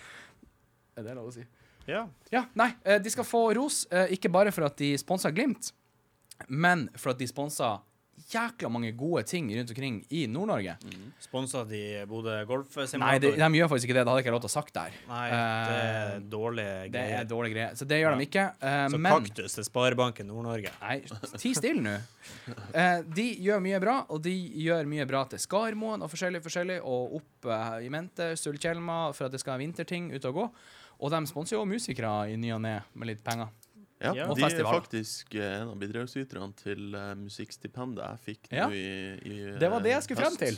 Speaker 3: Er det lov å si?
Speaker 2: Ja.
Speaker 3: Ja, nei, eh, de skal få ros, eh, ikke bare for at de sponsa Glimt, men for at de sponsa jækla mange gode ting rundt omkring i Nord-Norge.
Speaker 2: Sponsa de Bodø
Speaker 3: Nei, de,
Speaker 2: Golfsimulator?
Speaker 3: de gjør faktisk ikke det. Det hadde jeg ikke lov til å ha sagt der.
Speaker 2: Nei, det
Speaker 3: Eh,
Speaker 2: er dårlige
Speaker 3: det
Speaker 2: greier.
Speaker 3: er dårlig greie. Så det gjør de ikke. eh,
Speaker 2: Så
Speaker 3: men
Speaker 2: kaktus til Sparebanken Nord-Norge.
Speaker 3: Nei, ti stille nå. Eh, de gjør mye bra, og de gjør mye bra til Skarmoen og forskjellig, forskjellig, og opp eh, i mente, Sulkjelma, for at det skal være vinterting ute og gå. Og de sponser jo musikere i ny og ne med litt penger.
Speaker 4: Ja,
Speaker 2: Ja.
Speaker 3: Og
Speaker 4: De er
Speaker 3: festivaler.
Speaker 4: faktisk eh, en av bidragsyterne til eh, musikkstipendet jeg fikk
Speaker 3: Ja.
Speaker 4: nå i, i eh,
Speaker 3: Det var det jeg skulle frem
Speaker 4: høst.
Speaker 3: til.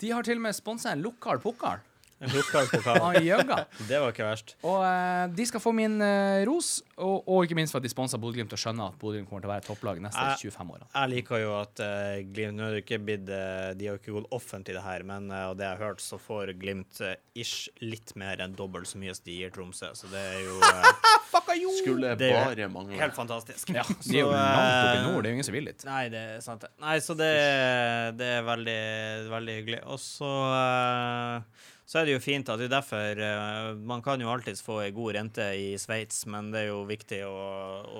Speaker 3: De har til og med sponsa en lokal pukkar
Speaker 2: En lokal pokal.
Speaker 3: av Jøgga.
Speaker 2: Det var ikke verst.
Speaker 3: Og eh, de skal få min eh, ros, og, og ikke minst for at de sponsa Bodø-Glimt og skjønner at Bodø-Glimt kommer til å være topplaget neste
Speaker 2: Eh,
Speaker 3: 25 årene.
Speaker 2: Jeg liker jo at eh, Glimt nå er det ikke blitt, eh, De har jo ikke gått offentlig, det her, men eh, av det jeg har hørt, så får Glimt eh, ish litt mer enn dobbelt så mye som de gir Tromsø. Så det er jo eh,
Speaker 4: Skulle
Speaker 2: Det er jo
Speaker 4: bare mangle.
Speaker 2: helt fantastisk.
Speaker 3: Ja, de er jo
Speaker 2: Så,
Speaker 3: langt oppe i
Speaker 2: eh,
Speaker 3: nord, det er jo ingen som vil dit.
Speaker 2: Nei, det er sant. det. Nei, så det, det er veldig, veldig hyggelig. Og så eh, så er det jo fint at det er derfor eh, Man kan jo alltids få ei god rente i Sveits, men det er jo viktig å,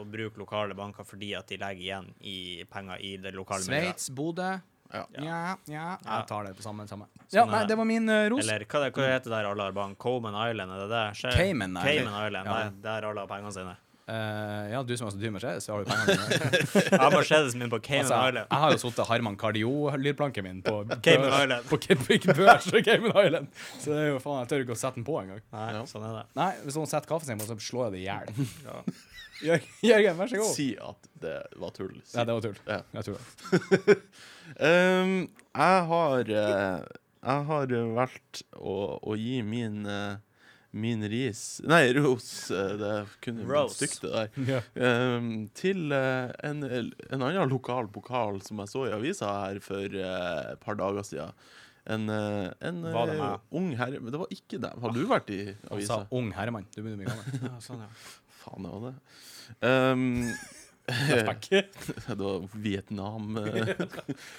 Speaker 2: å bruke lokale banker fordi at de legger igjen i penger i det lokale miljøet.
Speaker 3: Sveits, Bodø
Speaker 4: Ja.
Speaker 3: Ja, ja.
Speaker 2: Ja.
Speaker 3: Jeg tar det på samme. samme.
Speaker 2: Sånn
Speaker 3: Ja,
Speaker 2: er
Speaker 3: nei,
Speaker 2: det.
Speaker 3: det var min eh, ros.
Speaker 2: Eller hva, det, hva heter der alle har bank? Cayman Island, er det det? Skjer?
Speaker 3: Cayman Island.
Speaker 2: Cayman Island.
Speaker 3: Ja.
Speaker 2: Nei, der alle har pengene sine.
Speaker 3: Eh, ja, du som er så dyr med skje, så har du pengene dine.
Speaker 2: Jeg har Mercedesen min på Cayman
Speaker 3: Altså, jeg,
Speaker 2: Island.
Speaker 3: jeg har jo sittet Harman Cardio-lydplanken min på
Speaker 2: Cayman
Speaker 3: børs-
Speaker 2: Island.
Speaker 3: På Cape- børs og Cayman Island. Så det er jo faen, jeg tør ikke å sette den på engang.
Speaker 2: Nei, sånn er det.
Speaker 3: Nei, hvis noen setter kaffen sin på, så slår jeg det i hjel.
Speaker 2: Ja.
Speaker 3: Jør- Jørgen, vær så god.
Speaker 4: Si at det var tull. Si.
Speaker 3: Nei, det var tull.
Speaker 4: Ja.
Speaker 3: Jeg tror det.
Speaker 4: Ehm, jeg har eh, Jeg har eh, valgt å, å gi min eh, Min ris Nei, ros. eh, Det kunne jo blitt
Speaker 2: Rose.
Speaker 4: stygt, det der. Ehm, til eh, en, en annen lokal pokal som jeg så i avisa her for eh, et par dager siden. En, eh, en
Speaker 2: Var det
Speaker 4: eh,
Speaker 2: meg?
Speaker 4: ung herre Men det var ikke dem. Har du vært i
Speaker 3: Han sa
Speaker 4: avisa?
Speaker 3: ung herremann. Du begynner mye gammel.
Speaker 2: Ja, sånn, ja.
Speaker 4: Faen, det var det. Ehm,
Speaker 3: Flashback.
Speaker 4: det var Vietnam. eh,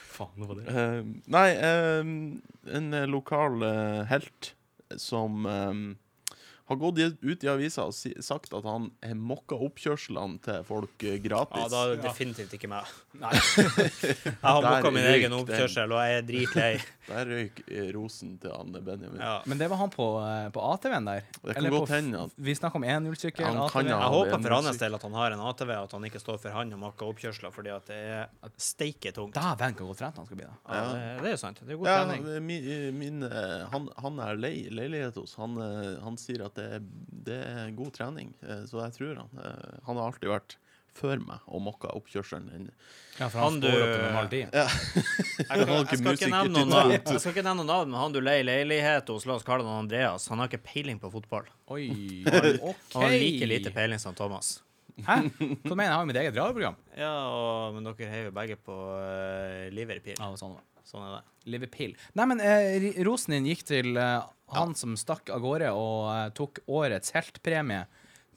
Speaker 3: Faen, det var det.
Speaker 4: Eh, nei, eh, en eh, lokal eh, helt som eh, har gått i- ut i avisa og si, sagt at han har mokka oppkjørslene til folk eh,
Speaker 2: ja,
Speaker 4: gratis.
Speaker 2: da er det definitivt ikke meg.
Speaker 3: Nei.
Speaker 2: Jeg har
Speaker 4: Der
Speaker 2: booka min
Speaker 4: røyk
Speaker 2: egen
Speaker 4: den.
Speaker 2: oppkjørsel, og jeg er dritlei.
Speaker 4: Der røyk eh, rosen til han eh, Benjamin.
Speaker 2: Ja.
Speaker 3: Men det var han på, eh, på ATV-en der.
Speaker 4: Det kan
Speaker 3: Eller på
Speaker 4: godt hende at-
Speaker 3: f- Vi snakker om 1-0-sykkel.
Speaker 4: Ja, han
Speaker 3: ATV.
Speaker 4: kan ha-
Speaker 2: Jeg
Speaker 4: det er
Speaker 2: håper for
Speaker 4: musikk.
Speaker 2: hans del at han har en ATV, at han ikke står for han og makker oppkjørsler, fordi at det er steike tungt. Ja,
Speaker 3: Dæven, hvor godt trent han skal bli. da.
Speaker 2: det, det er jo sant. Det er god
Speaker 4: Ja,
Speaker 2: trening.
Speaker 4: det er min, min, eh, han, han er lei leilighet hos. Han, eh, han sier at det er, det er god trening, eh, så jeg tror han. eh, Han har alltid vært før meg og mokka oppkjørselen. inn.
Speaker 3: Ja, for
Speaker 2: han Han, står du- opp til normal
Speaker 3: ja.
Speaker 2: Jeg, kan,
Speaker 4: har ikke
Speaker 2: jeg, skal ikke
Speaker 4: musiker
Speaker 2: nevne
Speaker 4: til
Speaker 2: noen navn, jeg skal ikke nevne noen navn, men han du leier leilighet hos, la oss kalle han Andreas, han har ikke peiling på fotball.
Speaker 3: Oi, OK.
Speaker 2: Han har like lite peiling som Thomas.
Speaker 3: Hæ? Hva mener jeg? Jeg har jo mitt eget radioprogram.
Speaker 2: Ja, og, men dere heier jo begge på uh, Liverpool.
Speaker 3: Ja, sånn var det.
Speaker 2: Sånn er det.
Speaker 3: Liverpool. Nei, men eh, ri- rosen din gikk til eh, han som stakk av gårde og eh, tok årets heltpremie.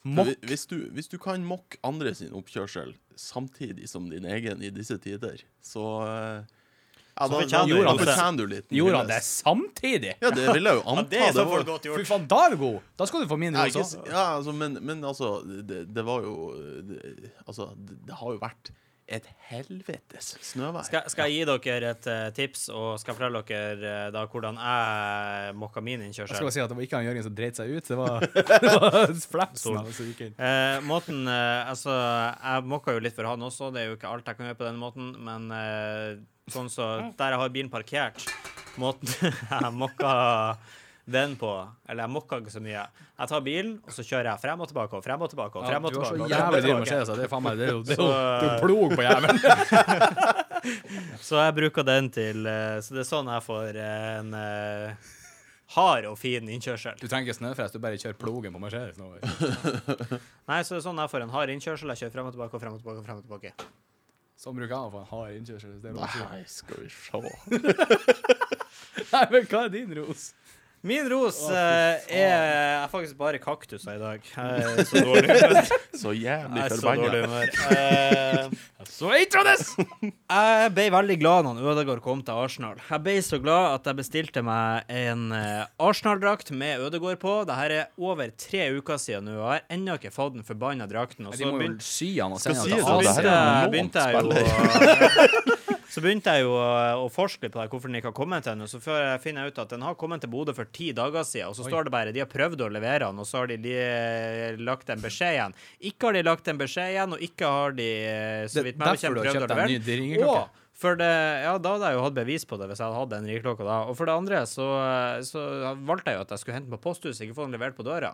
Speaker 3: Mokk.
Speaker 4: Hvi- Hvis du, hvis du kan mokke andre sin oppkjørsel samtidig som din egen i disse tider, så eh, ja, da, da,
Speaker 2: fortjener
Speaker 4: da,
Speaker 2: du
Speaker 4: da
Speaker 2: det.
Speaker 4: fortjener du litt.
Speaker 3: Gjorde han det samtidig?
Speaker 4: Ja, det vil jeg jo anta.
Speaker 2: det er i så
Speaker 4: var-
Speaker 2: fall godt
Speaker 3: Fy
Speaker 2: gjort.
Speaker 3: faen, da er du god! Da skal du få min
Speaker 4: Ja,
Speaker 3: ros
Speaker 4: ikke, s-
Speaker 3: også.
Speaker 4: ja, altså, men, men altså, det, det var jo det, Altså, det, det har jo vært et helvetes snøvær.
Speaker 2: Skal, skal jeg gi dere et eh, tips, og skal fortelle dere eh, da hvordan jeg mokka
Speaker 3: Jeg
Speaker 2: min
Speaker 3: skal
Speaker 2: innkjørsel?
Speaker 3: bare si at det var ikke han Jørgen som dreit seg ut. Det var, det var flapsen. av oss som gikk inn.
Speaker 2: Eh, måten, eh, altså, jeg mokka jo litt for han også, det er jo ikke alt jeg kan gjøre på den måten, men eh, sånn så, der jeg har bilen parkert, måten jeg mokka den på. Eller jeg mokka ikke så mye. Jeg tar bilen, og så kjører jeg frem og tilbake og frem og tilbake. og frem og
Speaker 3: du har
Speaker 2: tilbake.
Speaker 3: så
Speaker 2: og frem og
Speaker 3: jævlig dyr
Speaker 2: tilbake.
Speaker 3: Mercedes. Det er faen meg det er jo, det er jo,
Speaker 2: Så-
Speaker 3: det er jo plog på jævelen.
Speaker 2: Så jeg bruker den til eh, Så det er sånn jeg får eh, en eh, hard og fin innkjørsel.
Speaker 3: Du trenger ikke snøfres, du bare kjører plogen på Mercedes. nå.
Speaker 2: Nei, så det er sånn jeg får en hard innkjørsel. Jeg kjører frem og tilbake og frem og tilbake. og frem og tilbake.
Speaker 3: Sånn bruker han å få en hard innkjørsel. Det er noe sjukt.
Speaker 4: Nei, skal vi se.
Speaker 3: Nei, men hva er din ros?
Speaker 2: Min ros eh, er Jeg er faktisk bare kaktuser i dag. Jeg er så dårlig humør.
Speaker 4: Så jævlig
Speaker 2: Jeg er så dårlig
Speaker 4: forbanna.
Speaker 2: humør. Eh,
Speaker 3: Så Intrones!
Speaker 2: Jeg ble veldig glad når Ødegaard kom til Arsenal. Jeg ble så glad at jeg bestilte meg en eh, Arsenal-drakt med Ødegaard på. Dette er over tre uker siden nå, og jeg har ennå ikke fått den forbanna drakten.
Speaker 3: De
Speaker 2: Og så
Speaker 3: må jo
Speaker 2: begynte,
Speaker 3: sy han og
Speaker 4: Skal
Speaker 3: sende
Speaker 4: si
Speaker 3: han
Speaker 4: det,
Speaker 2: så
Speaker 3: til
Speaker 4: det her
Speaker 2: begynte,
Speaker 4: er
Speaker 2: jeg-
Speaker 4: en
Speaker 2: begynte jeg jo
Speaker 4: lånt
Speaker 2: å- så begynte jeg jo eh, å å forske litt på det, hvorfor den ikke har kommet til ennå. Så før jeg finner jeg ut at den har kommet til Bodø for ti dager siden. Og så står det bare de har prøvd å levere den, og så har de, de eh, lagt en beskjed igjen. Ikke har de lagt en beskjed igjen, og ikke har de, eh, så
Speaker 3: Det-
Speaker 2: vidt meg
Speaker 3: derfor du
Speaker 2: bekjent,
Speaker 3: har
Speaker 2: prøvd å
Speaker 3: kjøpt deg
Speaker 2: levere
Speaker 3: en
Speaker 2: den.
Speaker 3: ny ringeklokke.
Speaker 2: Og for det, ja, da hadde jeg jo hatt bevis på det hvis jeg hadde hatt den ringeklokke da. Og for det andre så, så valgte jeg jo at jeg skulle hente den på posthuset, ikke få den levert på døra.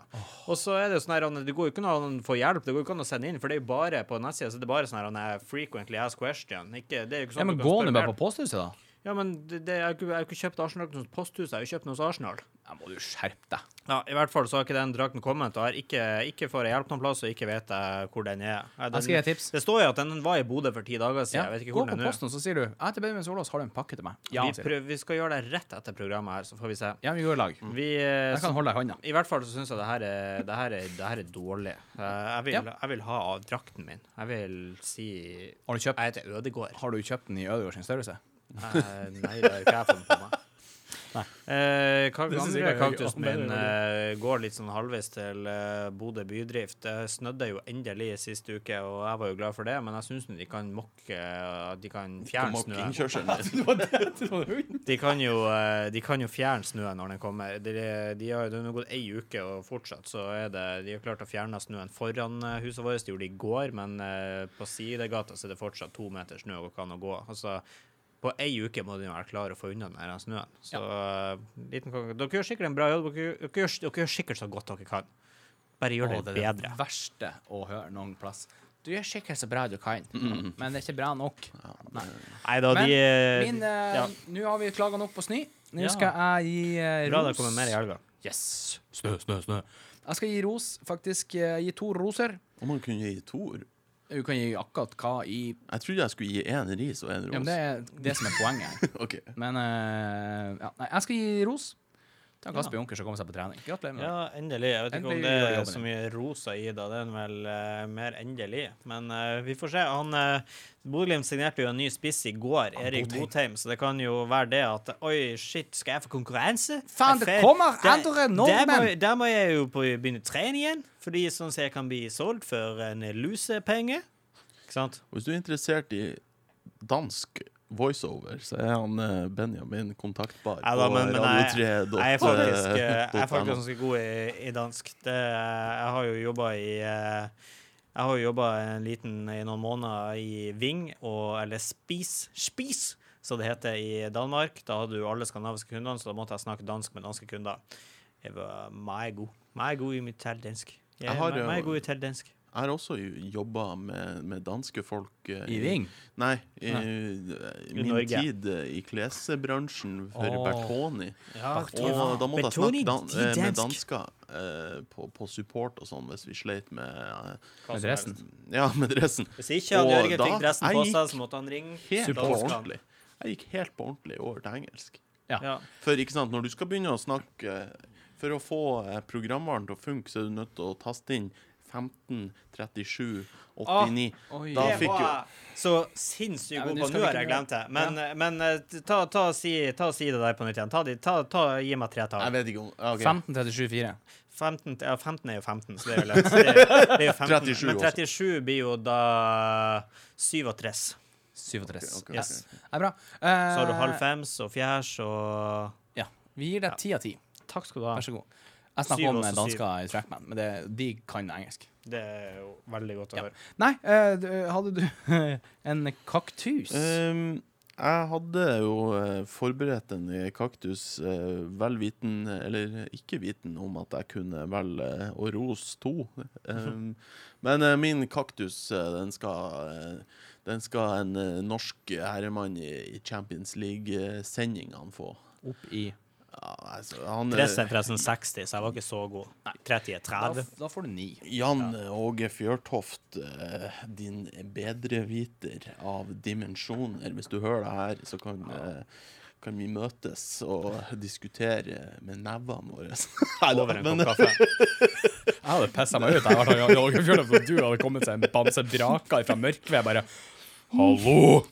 Speaker 2: Og så er det jo sånn her, Anne, det går jo ikke an å få hjelp, det går jo ikke an å sende inn, for det er jo bare på nettsida, så det er bare sånn her Anne, frequently asked question. Ikke, det er jo ikke sånn
Speaker 3: Ja, men
Speaker 2: du kan
Speaker 3: Gå
Speaker 2: spørre
Speaker 3: nå bare
Speaker 2: mer.
Speaker 3: på posthuset, da.
Speaker 2: Ja, men det, det, jeg har jo ikke- jeg har jo ikke kjøpt Arsenal-drakten hos posthuset, jeg har jo kjøpt den hos Arsenal.
Speaker 3: Ja, må du skjerpe deg.
Speaker 2: Ja, I hvert fall så har ikke den drakten kommet, og jeg har ikke, ikke får jeg hjelp noen plass, og ikke vet jeg hvor den er. Ja, Den,
Speaker 3: Jeg skal gi et tips.
Speaker 2: Det står jo at den var i Bodø for ti dager siden,
Speaker 3: Ja,
Speaker 2: jeg vet ikke
Speaker 3: gå
Speaker 2: hvor
Speaker 3: på
Speaker 2: den er. nå.
Speaker 3: posten, så sier du Jeg heter Benjamin Solås, har du en pakke til meg? Ja,
Speaker 2: vi,
Speaker 3: sier du.
Speaker 2: prøv, vi skal gjøre det rett etter programmet her, så får vi se.
Speaker 3: Ja, vi går i lag.
Speaker 2: Vi, eh,
Speaker 3: Jeg kan holde deg i hånda.
Speaker 2: så, I hvert fall så syns jeg det her er, det her er, det her er dårlig. Eh, Jeg vil,
Speaker 3: Ja.
Speaker 2: jeg vil ha av drakten min. Jeg vil si Jeg
Speaker 3: Har du kjøpt,
Speaker 2: heter Ødegård.
Speaker 3: har du kjøpt den i Ødegaard sin størrelse?
Speaker 2: Eh, Nei, det har ikke jeg funnet på meg. Eh, hva
Speaker 3: Det synes jeg
Speaker 2: andre
Speaker 3: ikke var gøy.
Speaker 2: kaktusen
Speaker 3: Ja, det er
Speaker 2: min eh, går litt sånn halvveis til eh, Bodø bydrift. Det snødde jo endelig sist uke, og jeg var jo glad for det, men jeg syns de kan mokke eh, at De kan fjerne snøen.
Speaker 4: Mockingjørselen din.
Speaker 2: De kan jo, eh, de kan jo fjerne snøen når den kommer. De, de har jo nå gått ei uke, og fortsatt så er det De har klart å fjerne snøen foran eh, huset vårt. Det gjorde de i går, men eh, på sidegata så er det fortsatt to meter snø og kan å gå. Altså, på ei uke må de jo være klare å få unna den her snøen. Så eh, liten kong- Dere gjør sikkert en bra jobb. Dere, dere, gjør, dere gjør sikkert så godt dere kan. Bare gjør
Speaker 3: Å,
Speaker 2: det
Speaker 3: er
Speaker 2: bedre.
Speaker 3: det verste å høre noen plass. Du gjør sikkert så bra du kan, men det er ikke bra nok. Nei.
Speaker 2: Nei da,
Speaker 3: Men
Speaker 2: de Mm. eh,
Speaker 3: Min, eh,
Speaker 2: ja.
Speaker 3: Nå har vi klaga nok på snø. Nå
Speaker 2: Ja.
Speaker 3: skal jeg gi eh,
Speaker 2: Bra det
Speaker 3: ros.
Speaker 2: kommer mer i helga.
Speaker 3: Yes. Snø, snø, snø. Jeg skal gi ros, faktisk. eh, Gi to roser.
Speaker 4: Om han kunne gi to ord
Speaker 3: Du kan gi akkurat hva i
Speaker 4: Jeg trodde jeg skulle gi én ris og én ros.
Speaker 3: ja, men Det er det som er poenget. her.
Speaker 4: OK.
Speaker 3: Men eh, ja. Nei, jeg skal gi ros til Kasper Junker som kom seg på trening. Gratulerer med det.
Speaker 2: Ja, endelig. Jeg vet ikke
Speaker 3: Endelig
Speaker 2: om det
Speaker 3: gjør
Speaker 2: er
Speaker 3: jobben
Speaker 2: så mye rosa i det. Det er vel eh, mer endelig. Men eh, vi får se. Han uh, Bodø-Glimt signerte jo en ny spiss i går, Erik Botheim, så det kan jo være det at Oi, shit, skal jeg få konkurranse?
Speaker 3: Faen,
Speaker 2: Jeg
Speaker 3: det
Speaker 2: fer-
Speaker 3: kommer
Speaker 2: Der-
Speaker 3: andre
Speaker 2: der må-
Speaker 3: nordmenn!
Speaker 2: Der må jeg jo på, begynne å trene igjen, fordi sånn at jeg kan bli solgt for en lusepenge. Ikke sant?
Speaker 4: Og Hvis du er interessert i dansk voiceover, så er han eh, Benjamin kontaktbar
Speaker 2: Ja da, men, men jeg, jeg, er
Speaker 4: på
Speaker 2: faktisk, eh, jeg er faktisk
Speaker 4: radio3.no.
Speaker 2: ganske god i, i dansk. Det, eh, jeg har jo jobba i eh, Jeg har jo jobba en liten i noen måneder i Ving, og, eller Spis, Spis, som det heter i Danmark. Da hadde du alle skandinaviske kundene, så da måtte jeg snakke dansk med danske kunder. Jeg var meget god. Meget god i mitt teldansk. Jeg
Speaker 4: Jeg
Speaker 2: er
Speaker 4: har
Speaker 2: meget
Speaker 4: jo-
Speaker 2: meget god i teldansk.
Speaker 4: Jeg har også jobba med, med danske folk eh,
Speaker 3: I Ving.
Speaker 4: Nei, i,
Speaker 3: Nei.
Speaker 4: eh,
Speaker 2: I
Speaker 4: min
Speaker 2: Norge.
Speaker 4: tid eh, i klesbransjen for
Speaker 3: Åh.
Speaker 4: Bertoni. Og da måtte jeg snakke dan eh, med dansker eh, på, på support og sånn, hvis vi sleit med eh,
Speaker 3: Med dressen.
Speaker 4: Ja, med dressen.
Speaker 2: Hvis ikke han
Speaker 4: Og
Speaker 2: Jørgen fikk
Speaker 4: da-
Speaker 2: dressen på
Speaker 4: jeg
Speaker 2: seg, så måtte han ringe
Speaker 4: Helt på
Speaker 2: danskene.
Speaker 4: ordentlig. Jeg gikk helt på ordentlig over til engelsk.
Speaker 2: Ja.
Speaker 4: For ikke sant, når du skal begynne å snakke eh, For å få eh, programvaren til å funke, så er du nødt til å taste inn 15, 37, 89
Speaker 3: Ah, Oi.
Speaker 4: Da
Speaker 2: Det
Speaker 4: fikk jo
Speaker 2: var så sinnssykt
Speaker 3: Ja,
Speaker 2: god
Speaker 3: men nå
Speaker 2: på.
Speaker 3: skal
Speaker 2: Nå
Speaker 3: vi
Speaker 2: har
Speaker 3: ikke dra-
Speaker 2: jeg glemt det. Men, men eh, ta, ta, og si, ta og si det der på nytt igjen. Ta, de, ta, ta, gi meg tre
Speaker 4: Jeg
Speaker 2: tall.
Speaker 4: vet ikke om ja, ok.
Speaker 3: 15-37-4.
Speaker 2: 15, ja, 15 er jo 15, så det er jo lett. Det er, det er jo 15.
Speaker 4: 37
Speaker 2: Men 37 blir jo da 37.
Speaker 3: 37.
Speaker 4: Ok, ok,
Speaker 3: Yes.
Speaker 4: ok.
Speaker 3: Det er bra.
Speaker 2: Så har du halv
Speaker 3: Eh,
Speaker 2: fems og fjers og
Speaker 3: ja. Vi gir deg ti av ti.
Speaker 2: Takk skal du ha.
Speaker 3: Vær så god. Jeg
Speaker 2: Syv
Speaker 3: snakker om eh,
Speaker 2: også, syv.
Speaker 3: dansker i Trackman, men det, de kan engelsk.
Speaker 2: Det er jo veldig godt å
Speaker 3: Ja.
Speaker 2: høre.
Speaker 3: Nei, eh, du- hadde du en kaktus?
Speaker 4: Ehm, jeg hadde jo eh, forberedt en kaktus eh, vel viten, eller ikke viten, om at jeg kunne velge å rose to. Um, Men eh, min kaktus, eh, den skal, eh, den skal en eh, norsk herremann i i Champions League-sendingene få.
Speaker 3: Opp i
Speaker 4: Ja, altså, han, eh,
Speaker 8: Dressen er forresten 60, så jeg var ikke så god. 30 er
Speaker 3: Da,
Speaker 8: 30.
Speaker 3: f- da får du ni.
Speaker 4: Jan Åge Fjørtoft, eh, din bedreviter av dimensjoner. Hvis du hører det her, så kan, eh, kan vi møtes og diskutere med nevene våre. Nei da,
Speaker 8: Over en
Speaker 4: men-
Speaker 8: kopp kaffe.
Speaker 3: Jeg hadde pissa meg ut. Jeg hadde vært Åge Fjørtoft, og du hadde kommet seg en bamse braka fra mørket. Jeg bare Hallo!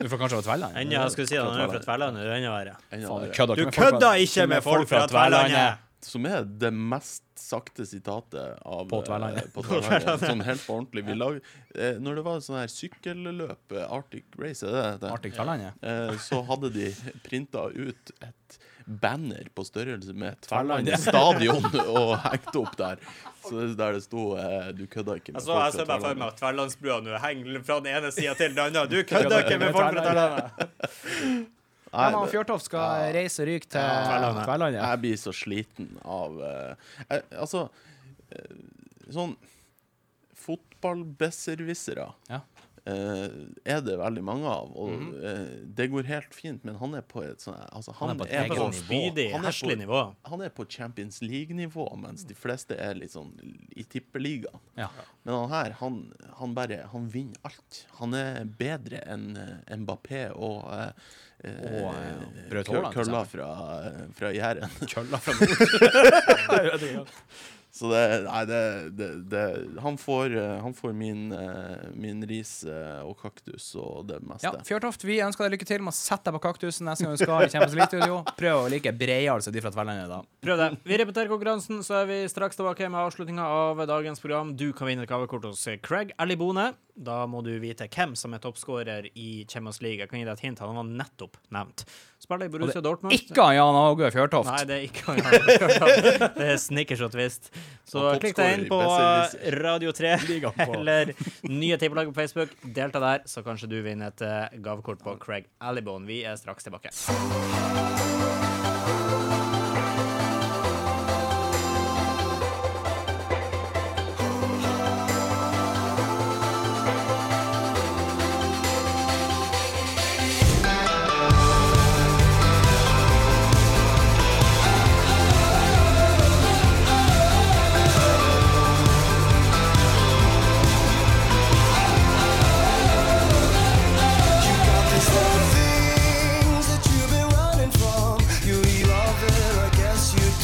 Speaker 3: Du får kanskje være Tverland.
Speaker 8: Enda jeg skulle si det, han er fra Tverlandet. Det er enda verre.
Speaker 4: Enda
Speaker 3: Faen, du
Speaker 4: verre.
Speaker 3: kødder
Speaker 8: Du
Speaker 3: ikke med folk fra-
Speaker 8: kødder ikke med folk fra Tverlandet!
Speaker 4: Som er det mest sakte sitatet av,
Speaker 3: På Tverlandet.
Speaker 4: eh, på Tverlandet. Sånn helt på ordentlig. Vi lag, eh, når det var sånn her sykkelløp, eh, Arctic Race, er det det?
Speaker 3: Arctic Tverland, ja.
Speaker 4: Eh, så hadde de printa ut et banner på størrelse med Tverlandet stadion og hengt opp der. Så der det sto eh, 'Du kødda ikke med
Speaker 8: Jeg så, Altså, jeg ser bare
Speaker 4: fra
Speaker 8: for meg
Speaker 4: Tverlandet».
Speaker 8: at Tverlandsbrua nå henger fra den ene sida til den andre. Du kødder ikke med folk fra Tverlandet!
Speaker 3: Ja, men
Speaker 4: Nei, det-
Speaker 3: Fjørtoft skal reise og ryke til
Speaker 4: Tverlandet.
Speaker 3: Tverlandet.
Speaker 4: jeg blir så sliten av eh, eh, Altså, eh, sånn Fotballbesserwissere
Speaker 3: Ja.
Speaker 4: eh, er det veldig mange av, og eh, det går helt fint, men han er på et sånn altså,
Speaker 3: Mhm.
Speaker 4: han,
Speaker 3: er på et eget
Speaker 4: er på,
Speaker 8: Sånn
Speaker 3: nivå.
Speaker 8: spydig,
Speaker 4: Han er på-
Speaker 8: heslig nivå.
Speaker 4: han er på Champions League-nivå, mens de fleste er litt sånn i tippeligaen.
Speaker 3: Ja.
Speaker 4: Men han her, han, han bare Han vinner alt. Han er bedre enn eh, Mbappé og eh, eh,
Speaker 3: Og, eh, Braut
Speaker 4: kø-
Speaker 3: Haaland, for
Speaker 4: kølla fra, fra Jæren.
Speaker 3: Kølla fra nord.
Speaker 4: Så det Nei, det, det, det han, får, eh, han får min, eh, min ris eh, og kaktus og det
Speaker 3: Ja,
Speaker 4: meste.
Speaker 3: Fjørtoft, vi ønsker deg lykke til med å sette deg på kaktusen neste gang du skal i Champions League-studio. Prøv å like breiere altså, de fra Tverlandet, da.
Speaker 2: Prøv det. Vi repeterer konkurransen, så er vi straks tilbake med avslutninga av dagens program. Du kan vinne et gavekort hos Craig Elibone. Da må du vite hvem som er toppskårer i Champions League. Jeg kan gi deg et hint. Han var nettopp nevnt. Spiller i Borussia Dortmund.
Speaker 3: Ikke han Jan Åge Fjørtoft.
Speaker 2: Nei, det er ikke han. Bjørkan. Det er snickers og twist. Så
Speaker 4: Og
Speaker 2: klikk deg inn på
Speaker 4: toppskårer
Speaker 2: Radio 3
Speaker 3: Ligaen på.
Speaker 2: eller Nye Tippelaget på Facebook. Delta der, så kanskje du vinner et eh, gavekort på Craig Alibone. Vi er straks tilbake.
Speaker 5: Things that you've been running from, you evolve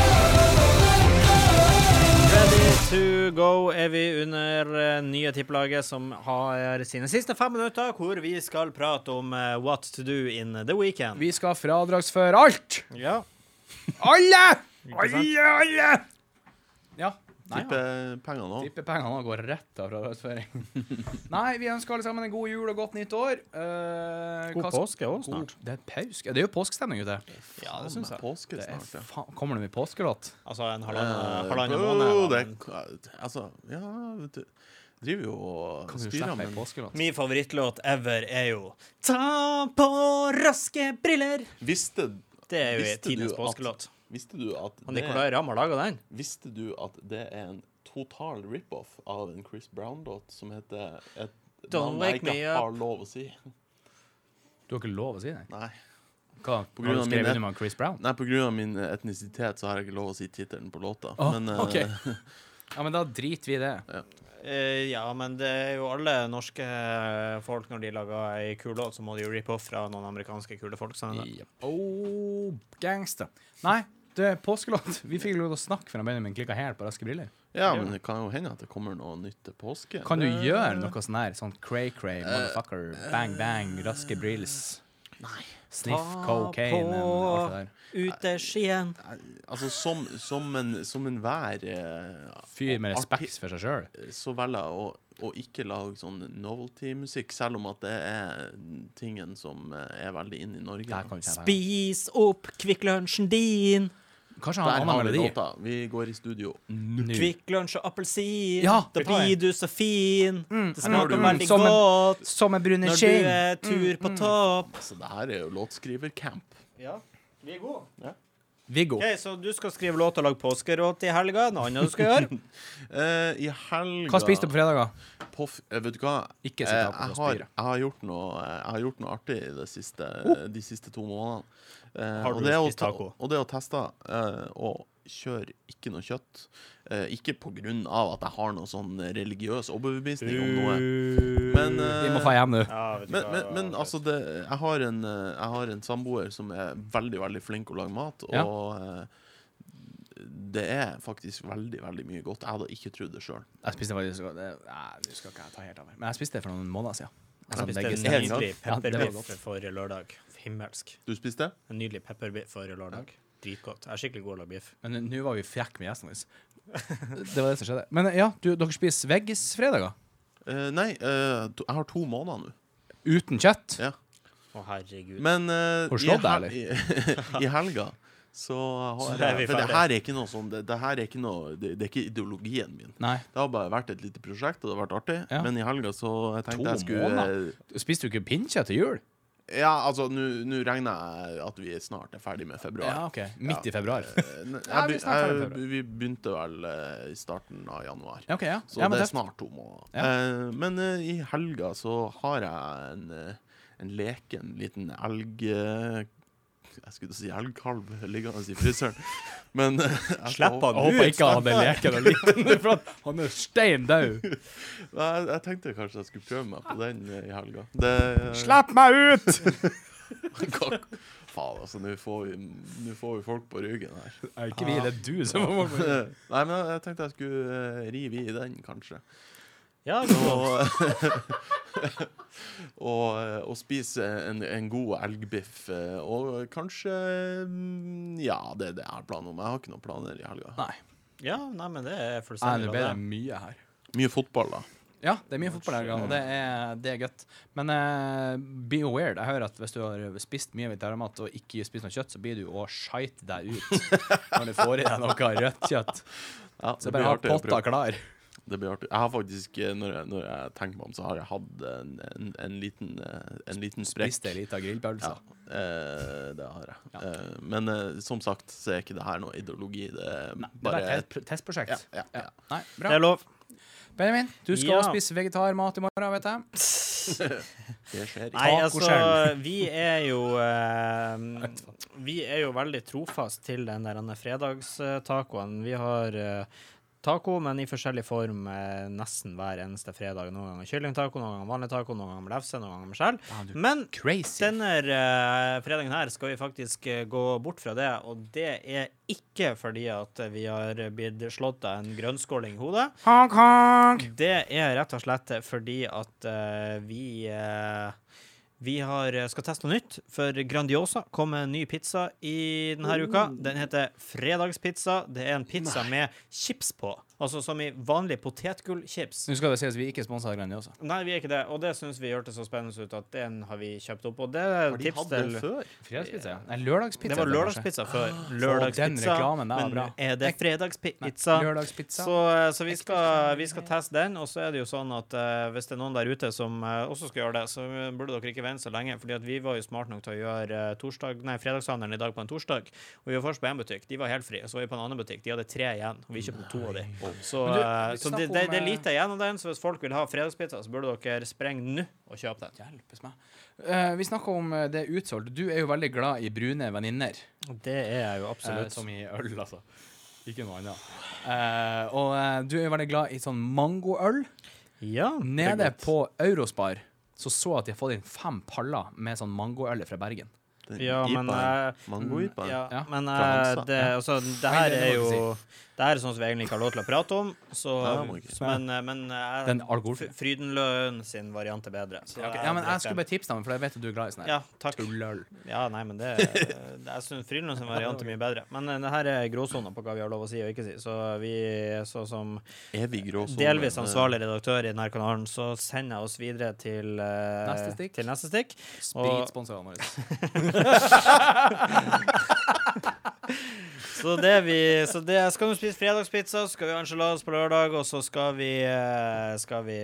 Speaker 2: eh, Tippelaget, som har sine siste fem minutter, hvor vi skal prate om eh, what to do in the weekend.
Speaker 3: Vi skal fradragsføre alt!
Speaker 2: Ja.
Speaker 3: Alle!
Speaker 2: Ikke sant?
Speaker 3: Alle, alle! Ja. Nei, ja.
Speaker 4: Tippepengene òg.
Speaker 3: Tippepengene går rett av fradragsføring. Nei, vi ønsker alle sammen en god jul og godt nytt år. Eh,
Speaker 2: God
Speaker 3: hva-
Speaker 2: påske òg
Speaker 3: God-
Speaker 2: snart.
Speaker 3: Det er påske. Ja, det er jo påskestemning ute.
Speaker 2: Ja, det syns jeg.
Speaker 4: Påske
Speaker 3: Det er
Speaker 4: snart, ja.
Speaker 3: faen- Kommer det mye påskelåt?
Speaker 2: Altså en
Speaker 4: Eh,
Speaker 2: halvannen halvannen
Speaker 4: jo,
Speaker 2: måned. da,
Speaker 4: det
Speaker 2: men
Speaker 4: er- Altså, ja vet du, Driver jo og
Speaker 3: Kan du
Speaker 4: styrer
Speaker 3: slippe ei
Speaker 4: med
Speaker 3: påskelåt?
Speaker 2: Min favorittlåt ever er jo Ta på raske briller.
Speaker 4: Visste,
Speaker 2: Det er jo
Speaker 4: Visste
Speaker 2: tidenes
Speaker 4: du at-
Speaker 2: påskelåt.
Speaker 4: visste du at
Speaker 2: Og
Speaker 4: det,
Speaker 2: Nicolay Ramm har laga den.
Speaker 4: Visste du at det er en total rip-off av en Chris Brown-låt som heter et
Speaker 2: Don't
Speaker 4: navn jeg
Speaker 2: wake
Speaker 4: ikke
Speaker 2: me
Speaker 4: har lov å si?
Speaker 3: Du har ikke lov å si det?
Speaker 4: Nei.
Speaker 3: Hva,
Speaker 4: På
Speaker 3: har
Speaker 4: grunn
Speaker 3: du
Speaker 4: av
Speaker 3: skrevet
Speaker 4: mine-
Speaker 3: under med Chris Brown?
Speaker 4: Nei, på grunn av min eh, etnisitet så har jeg ikke lov å si tittelen på låta.
Speaker 3: Å,
Speaker 4: men eh,
Speaker 3: ok. Ja, men da driter vi i det.
Speaker 2: Eh, ja, men det er jo alle norske eh, folk, når de lager ei kul låt, så må de jo rippe off fra noen amerikanske kule folk. Sånn.
Speaker 3: Yep. Oh, gangster. Nei, det er påskelåt. Vi fikk lov til å snakke fra Benjamin Klikka Hair på raske briller.
Speaker 4: ja, men det kan jo hende at det kommer noe nytt til påske.
Speaker 3: Kan du
Speaker 4: Det-
Speaker 3: gjøre noe sånn her? Sånn cray-cray, motherfucker, bang bang, raske brills. Sniff cocaine and alt det der.
Speaker 2: Uteskien.
Speaker 4: Altså, som, som en, som en vær eh,
Speaker 3: Fyr med
Speaker 4: arti-
Speaker 3: respekt for seg sjøl.
Speaker 4: så velger jeg å, å ikke lage sånn novelty-musikk, selv om at det er tingen som eh, er veldig inn i Norge. da.
Speaker 3: Kanskje
Speaker 2: Spis opp Kvikk Lunsjen din.
Speaker 3: han har
Speaker 4: Der
Speaker 3: en
Speaker 4: har
Speaker 3: annen
Speaker 4: vi
Speaker 3: melodi.
Speaker 4: låta. Vi går i studio.
Speaker 3: Nå.
Speaker 2: Kvikk Lunsj og appelsin.
Speaker 3: Ja,
Speaker 2: da
Speaker 3: vi tar
Speaker 2: blir du så fin. det smaker
Speaker 3: mm,
Speaker 2: veldig
Speaker 3: som en- Mm,
Speaker 2: godt
Speaker 3: Som en brune
Speaker 2: når du
Speaker 3: skinn.
Speaker 2: er tur på topp.
Speaker 4: Så det her er jo låtskrivercamp.
Speaker 2: Ja, vi er gode.
Speaker 3: Viggo.
Speaker 2: Ok, Så du skal skrive låt og lage påskeråd til helga? Noe annet du skal gjøre?
Speaker 4: Eh, I helga
Speaker 3: Hva spiste du på fredager?
Speaker 4: på f- eh, Vet du hva?
Speaker 3: Ikke
Speaker 4: Eh,
Speaker 3: sitt
Speaker 4: jeg,
Speaker 3: opp og
Speaker 4: har,
Speaker 3: spyre.
Speaker 4: jeg, har gjort noe, eh, jeg har gjort noe artig i det siste,
Speaker 3: Oh!
Speaker 4: de siste to månedene. Eh,
Speaker 2: Har
Speaker 4: og
Speaker 2: du
Speaker 4: det er å
Speaker 2: spist
Speaker 4: ta-
Speaker 2: taco?
Speaker 4: Og det å teste eh, og kjøre ikke noe kjøtt. Eh, ikke på grunn av at jeg har noen sånn religiøs overbevisning om noe. Men, eh,
Speaker 3: Vi må få hjem nå.
Speaker 2: Uh. Ja, vet du
Speaker 4: men,
Speaker 2: hva,
Speaker 4: men, men altså, det, jeg, har en, eh, jeg har en samboer som er veldig, veldig flink å lage mat, og
Speaker 3: Ja.
Speaker 4: eh, det er faktisk veldig, veldig mye godt. Jeg hadde ikke trodd det sjøl.
Speaker 3: Jeg spiste faktisk det, Nei, du skal ikke ta helt av meg. Men jeg spiste det for noen måneder siden. Jeg
Speaker 2: Jeg
Speaker 3: sånn
Speaker 2: spiste en
Speaker 3: veggis-
Speaker 2: nydelig
Speaker 3: Ja, det var
Speaker 2: pepperbiff
Speaker 3: godt.
Speaker 2: for lørdag. Himmelsk.
Speaker 4: Du spiste?
Speaker 2: En nydelig pepperbiff for lørdag. Dritgodt. Jeg er skikkelig god til å lage biff.
Speaker 3: Men nå var vi frekk med gjestene våre. Det var det som skjedde. Men ja, du, dere spiser veggisfredager?
Speaker 4: Eh, nei, eh, to, jeg har to måneder nå.
Speaker 3: Uten kjøtt?
Speaker 4: Ja.
Speaker 2: Å, herregud.
Speaker 4: Men eh,
Speaker 3: Har du slått
Speaker 4: hel-
Speaker 3: deg,
Speaker 4: i helga så har
Speaker 2: Så er vi
Speaker 4: jeg For det
Speaker 2: ferdig.
Speaker 4: her er ikke noe sånn Det, det her er ikke noe det, det er ikke ideologien min.
Speaker 3: Nei.
Speaker 4: Det har bare vært et lite prosjekt, og det har vært artig.
Speaker 3: Ja.
Speaker 4: Men i helga så
Speaker 3: To
Speaker 4: jeg tenkte jeg skulle eh,
Speaker 3: måneder? Spiste du ikke pinnkjøtt til jul?
Speaker 4: Ja, altså, nå nå regner jeg at vi snart er ferdig med februar.
Speaker 3: Ja, ok. Midt i februar.
Speaker 4: Eh, ne-
Speaker 3: Ja, vi
Speaker 4: jeg,
Speaker 3: er snart ferdig med
Speaker 4: be- jeg, vi begynte vel eh, i starten av januar.
Speaker 3: Ja, ok, ja.
Speaker 4: Så
Speaker 3: ja men
Speaker 4: det er
Speaker 3: tøft.
Speaker 4: snart to måneder.
Speaker 3: Ja.
Speaker 4: Eh, men eh, i helga så har jeg en, eh, en leken liten elg... eh, jeg skulle til å si elgkalv liggende i fryseren, men eh, jeg,
Speaker 2: Slipp han.
Speaker 4: skal-
Speaker 3: Jeg håper ikke han er leken og liten, for at han er stein død.
Speaker 4: Nei, jeg, jeg tenkte kanskje jeg skulle prøve meg på den eh, i helga. Det,
Speaker 3: Slipp meg ut!
Speaker 4: Faen, altså, nå får, vi, nå får vi folk på ryggen her.
Speaker 3: Er ikke vi, det er du som må
Speaker 4: Nei, men jeg, jeg tenkte jeg skulle eh, rive i den, kanskje.
Speaker 2: Ja,
Speaker 4: og, og, eh, og spise en, en god elgbiff. eh, Og kanskje mm, Ja, det er det jeg har planer om. Jeg har ikke noen planer i helga.
Speaker 3: Nei.
Speaker 2: ja nei, men det er
Speaker 3: Nei, det
Speaker 2: fullstendig
Speaker 3: ble
Speaker 2: bra.
Speaker 3: det mye her.
Speaker 4: Mye fotball, da.
Speaker 3: Ja, det er mye fotball her, og det er, det er godt. Men eh, be aware. Jeg hører at hvis du har spist mye vegetarmat og ikke spist noe kjøtt, så blir du å skeit deg ut når du får i deg noe rødt kjøtt.
Speaker 4: Ja,
Speaker 3: Så
Speaker 4: det, blir
Speaker 3: bare ha
Speaker 4: artig å
Speaker 3: potta
Speaker 4: prøve.
Speaker 3: klar.
Speaker 4: det blir artig. Jeg har faktisk, eh, når jeg, når jeg tenker meg om, så har jeg hatt en, en, en liten, eh, en liten sprekk.
Speaker 3: Spiste altså. ei lita grillpølse.
Speaker 4: Ja, eh, det har jeg. Eh, men eh, som sagt så er ikke det her noe ideologi. Det er
Speaker 3: Det er
Speaker 4: bare
Speaker 3: bare
Speaker 4: et
Speaker 3: et testprosjekt.
Speaker 4: ja, ja, ja.
Speaker 3: Nei,
Speaker 2: Det
Speaker 3: bra.
Speaker 2: er lov.
Speaker 3: Benjamin, du skal
Speaker 2: Ja.
Speaker 3: spise vegetarmat i morgen, vet jeg.
Speaker 4: Det skjer ikke.
Speaker 2: Nei, altså,
Speaker 3: Tacoskjell.
Speaker 2: vi er jo eh, Vi er jo veldig trofast til den der denne fredagstacoen. Vi har eh, taco, men i forskjellig form eh, nesten hver eneste fredag. Noen ganger kyllingtaco, noen ganger vanlig taco, noen ganger med lefse, noen ganger med skjell.
Speaker 3: du-
Speaker 2: Men
Speaker 3: Crazy.
Speaker 2: denne eh, fredagen her skal vi faktisk eh, gå bort fra det, og det er ikke fordi at vi har blitt slått av en grønnskåling i hodet.
Speaker 3: Honk, honk.
Speaker 2: Det er rett og slett fordi at eh, vi eh, vi har, eh, skal teste noe nytt, for Grandiosa kom med en ny pizza i denne uka.
Speaker 4: Oh.
Speaker 2: Den heter fredagspizza. Det er en pizza med chips på, altså som i vanlig potetgullchips.
Speaker 3: Nå skal det sies vi ikke sponser Grandiosa.
Speaker 2: Nei, vi er ikke det, og det syns vi hørtes så spennende ut at den har vi kjøpt opp. Og det
Speaker 4: Har
Speaker 2: er
Speaker 4: de
Speaker 2: tips
Speaker 4: hatt det
Speaker 2: til
Speaker 4: før?
Speaker 3: Fredagspizza? Nei, lørdagspizza.
Speaker 2: Det var
Speaker 3: heter det kanskje.
Speaker 2: lørdagspizza før.
Speaker 3: den
Speaker 2: Lørdagspizza.
Speaker 3: reklamen der var
Speaker 2: Men nå
Speaker 3: bra.
Speaker 2: er det
Speaker 3: Nei,
Speaker 2: fredagspizza?
Speaker 3: Lørdagspizza.
Speaker 2: Så, eh, så vi, skal, vi skal teste den, og så er det jo sånn at eh, hvis det er noen der ute som eh, også skal gjøre det, så burde dere ikke vente så lenge, fordi at vi var jo smart nok til å gjøre eh, torsdag, nei, fredagshandelen i dag på en torsdag. Og vi var først på én butikk, de var helt fri, og så var vi på en annen butikk, de hadde tre igjen, og vi kjøpte to av de. Så,
Speaker 3: Men du,
Speaker 2: eh,
Speaker 3: vi
Speaker 2: så
Speaker 3: snakker
Speaker 2: det, det,
Speaker 3: om,
Speaker 2: det er
Speaker 3: eh,
Speaker 2: lite igjen av den, så hvis folk vil ha fredagspizza, så burde dere sprenge nå og kjøpe den.
Speaker 3: Hjelpes meg. Eh, vi snakka om eh, det utsolgt. Du er jo veldig glad i brune venninner.
Speaker 2: Det er jeg jo
Speaker 3: Eh, som i øl, altså. Ikke noe annet. Eh, og eh, du er jo veldig glad i sånn mangoøl.
Speaker 2: Ja,
Speaker 3: Nede på Eurospar så så jeg at de har fått inn fem paller med sånn mangoøl fra Bergen.
Speaker 4: Den
Speaker 2: Ja, men,
Speaker 4: IPA-en.
Speaker 2: eh,
Speaker 4: Mango-IPA-en.
Speaker 2: Ja,
Speaker 3: Ja.
Speaker 2: men
Speaker 4: Fra
Speaker 2: eh,
Speaker 4: Hansa.
Speaker 2: det, altså, det
Speaker 3: Nei,
Speaker 2: her
Speaker 3: det
Speaker 2: er
Speaker 3: må
Speaker 2: jo
Speaker 3: du
Speaker 2: Det her er sånn som vi egentlig ikke har lov til å prate om, så,
Speaker 4: Nei, det må vi ikke.
Speaker 2: men, eh, men eh,
Speaker 3: Den alkoholfrie.
Speaker 2: Fr- Frydenløen sin variant er bedre. Så
Speaker 3: Ok,
Speaker 2: jeg
Speaker 3: Ja, men
Speaker 2: drikker
Speaker 3: jeg skulle
Speaker 2: den.
Speaker 3: bare tipse deg om, for jeg vet at du er glad i sånn her.
Speaker 2: Ja, takk.
Speaker 3: Tulløl.
Speaker 2: Ja, nei, men det, det Jeg syns Frydenløen sin variant er mye bedre. Men eh, det her er gråsona på hva vi har lov å si og ikke si, så vi så som
Speaker 4: Evig gråsone.
Speaker 2: delvis
Speaker 4: men, eh,
Speaker 2: ansvarlig redaktør i denne kanalen, så sender jeg oss videre til eh,
Speaker 3: Neste stikk.
Speaker 2: Til neste stikk. Og-
Speaker 3: Spritsponsorene våre.
Speaker 2: Så det vi Så det skal vi spise fredagspizza, så skal vi ha enchiladas på lørdag, og så skal vi eh, Skal vi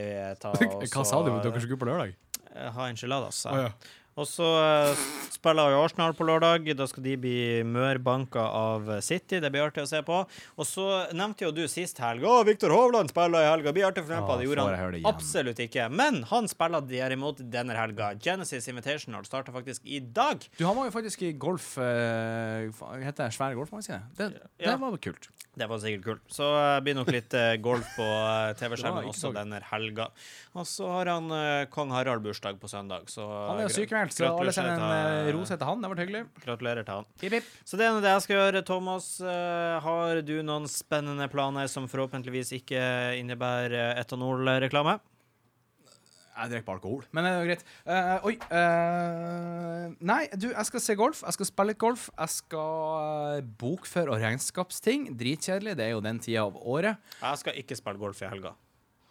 Speaker 2: ta og så-
Speaker 3: skulle på lørdag?
Speaker 2: Eh, Ha enchiladas, sa
Speaker 3: Å, ja.
Speaker 2: jeg. Og så eh, spiller jo Arsenal på lørdag. Da skal de bli mørbanka av City. Det blir artig å se på. Og så nevnte jo du sist helg Å, Viktor Hovland spiller i helga. Blir artig for
Speaker 3: Å,
Speaker 2: Det gjorde
Speaker 3: får jeg høre
Speaker 2: han
Speaker 3: det igjen?
Speaker 2: absolutt ikke. Men han spiller derimot denne helga. Genesis Invitational starter faktisk i dag.
Speaker 3: Du, han var jo faktisk i golf eh, Hva heter det? Svære golfmagasinet? Det,
Speaker 2: Ja.
Speaker 3: det var jo kult.
Speaker 2: Det var sikkert kult. Så eh, blir nok litt eh, golf på
Speaker 3: Det
Speaker 2: eh,
Speaker 3: var
Speaker 2: TV-skjermen
Speaker 3: ikke
Speaker 2: også
Speaker 3: så-
Speaker 2: denne helga. Og så har han eh, kong Harald bursdag på søndag, så eh,
Speaker 3: Han er jo sykemeldt, så alle sender en eh, ros etter han. Det har vært hyggelig.
Speaker 2: Gratulerer til han.
Speaker 3: Hipp, hipp.
Speaker 2: Så det er nå det jeg skal gjøre. Thomas, eh, har du noen spennende planer som forhåpentligvis ikke innebærer eh, etanolreklame?
Speaker 3: Jeg drikker bare alkohol. Men det er jo greit. Eh, oi. eh, nei, du, jeg skal se golf. Jeg skal spille litt golf. Jeg skal eh, bokføre og regnskapsting. Dritkjedelig. Det er jo den tida av året.
Speaker 2: Jeg skal ikke spille golf i helga.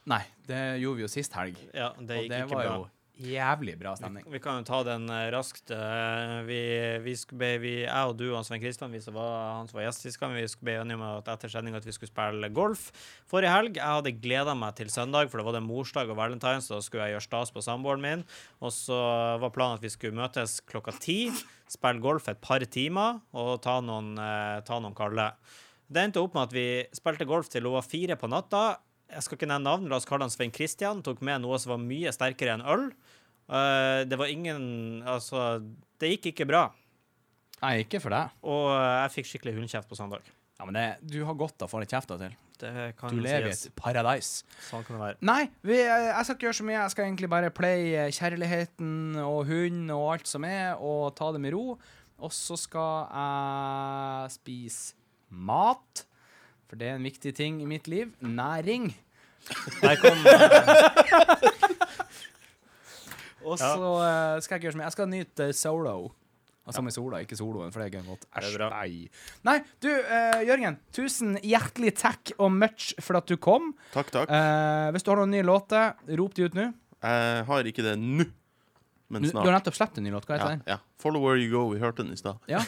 Speaker 3: Nei, det gjorde vi jo sist helg.
Speaker 2: Ja, det
Speaker 3: Og
Speaker 2: gikk
Speaker 3: det
Speaker 2: ikke
Speaker 3: var
Speaker 2: bra.
Speaker 3: jo jævlig bra stemning.
Speaker 2: Vi kan jo ta den eh, raskt. Eh, Vi, vi, sk- ble, vi, jeg og du og Svein Kristian, vi som var, han som var gjest sist gang, vi sk- ble enige om at etter sending at vi skulle spille golf forrige helg. Jeg hadde gleda meg til søndag, for det var det morsdag og valentines, så da skulle jeg gjøre stas på samboeren min. Og så var planen at vi skulle møtes klokka ti, spille golf et par timer og ta noen, eh, ta noen kalde. Det endte opp med at vi spilte golf til hun var fire på natta. Jeg skal ikke nevne navn, la oss kalle han Svein Kristian. Tok med noe som var mye sterkere enn øl. Eh, det var ingen Altså, det gikk ikke bra.
Speaker 3: Nei, ikke for deg.
Speaker 2: Og eh, jeg fikk skikkelig hundekjeft på søndag.
Speaker 3: Ja, men det, du har godt av å få litt kjeft av og til.
Speaker 2: Det kan
Speaker 3: Du lever i
Speaker 2: sies.
Speaker 3: et paradis.
Speaker 2: Sånn kan det være.
Speaker 3: Nei, vi, eh, jeg skal ikke gjøre så mye. Jeg skal egentlig bare play eh, kjærligheten og hund og alt som er, og ta det med ro. Og så skal jeg spise mat, for det er en viktig ting i mitt liv. Næring.
Speaker 2: Der kom eh,
Speaker 3: Og så eh, skal jeg ikke gjøre så mye. Jeg skal nyte solo. Altså med sola, ikke soloen, for det er ikke godt.
Speaker 2: Det
Speaker 3: Æsj,
Speaker 2: er bra.
Speaker 3: nei. Nei, du, eh, Jørgen, tusen hjertelig takk og much for at du kom.
Speaker 4: Takk, takk.
Speaker 3: Eh, hvis du har noen nye låter, rop de ut nå.
Speaker 4: Jeg har ikke det nå,
Speaker 3: Du,
Speaker 4: men
Speaker 3: du har
Speaker 4: snart.
Speaker 3: nettopp sluppet en ny låt. Hva heter
Speaker 4: Ja,
Speaker 3: den?
Speaker 4: ja. Follow where you go. Vi hørte den i stad.
Speaker 3: Ja.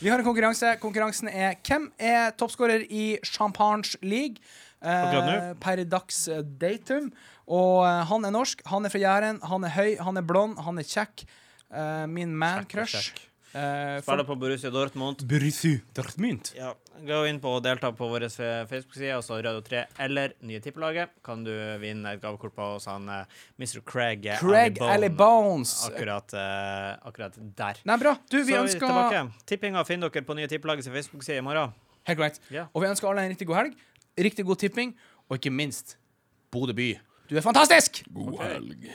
Speaker 3: Vi har en konkurranse. Konkurransen er hvem er toppskårer i Champagnes League eh,
Speaker 2: Akkurat
Speaker 3: per dags eh, datum. Og eh, han er norsk, han er fra Jæren, han er høy, han er blond, han er kjekk. Eh, min man-crush.
Speaker 2: kjekk.
Speaker 3: Eh, for-
Speaker 2: spiller på Borussia Dortmund.
Speaker 3: Borussia Dortmund.
Speaker 2: Ja, Gå inn på og delta på vår Facebook-side, altså Radio 3 eller Nye Tippelaget. Kan du vinne et gavekort på hos han eh, Mr. Craig eh,
Speaker 3: Craig
Speaker 2: Alley
Speaker 3: Alley
Speaker 2: Bone.
Speaker 3: Bones.
Speaker 2: Akkurat, eh, akkurat der.
Speaker 3: Nei, bra. Du, vi
Speaker 2: Så er vi
Speaker 3: ønsker
Speaker 2: tilbake. Tippinga finner dere på Nye Tippelagets Facebook-side i morgen.
Speaker 3: Helt korrekt.
Speaker 2: Ja.
Speaker 3: Og vi ønsker alle en riktig god helg, riktig god tipping, og ikke minst Bodø by. Du er fantastisk!
Speaker 1: God helg.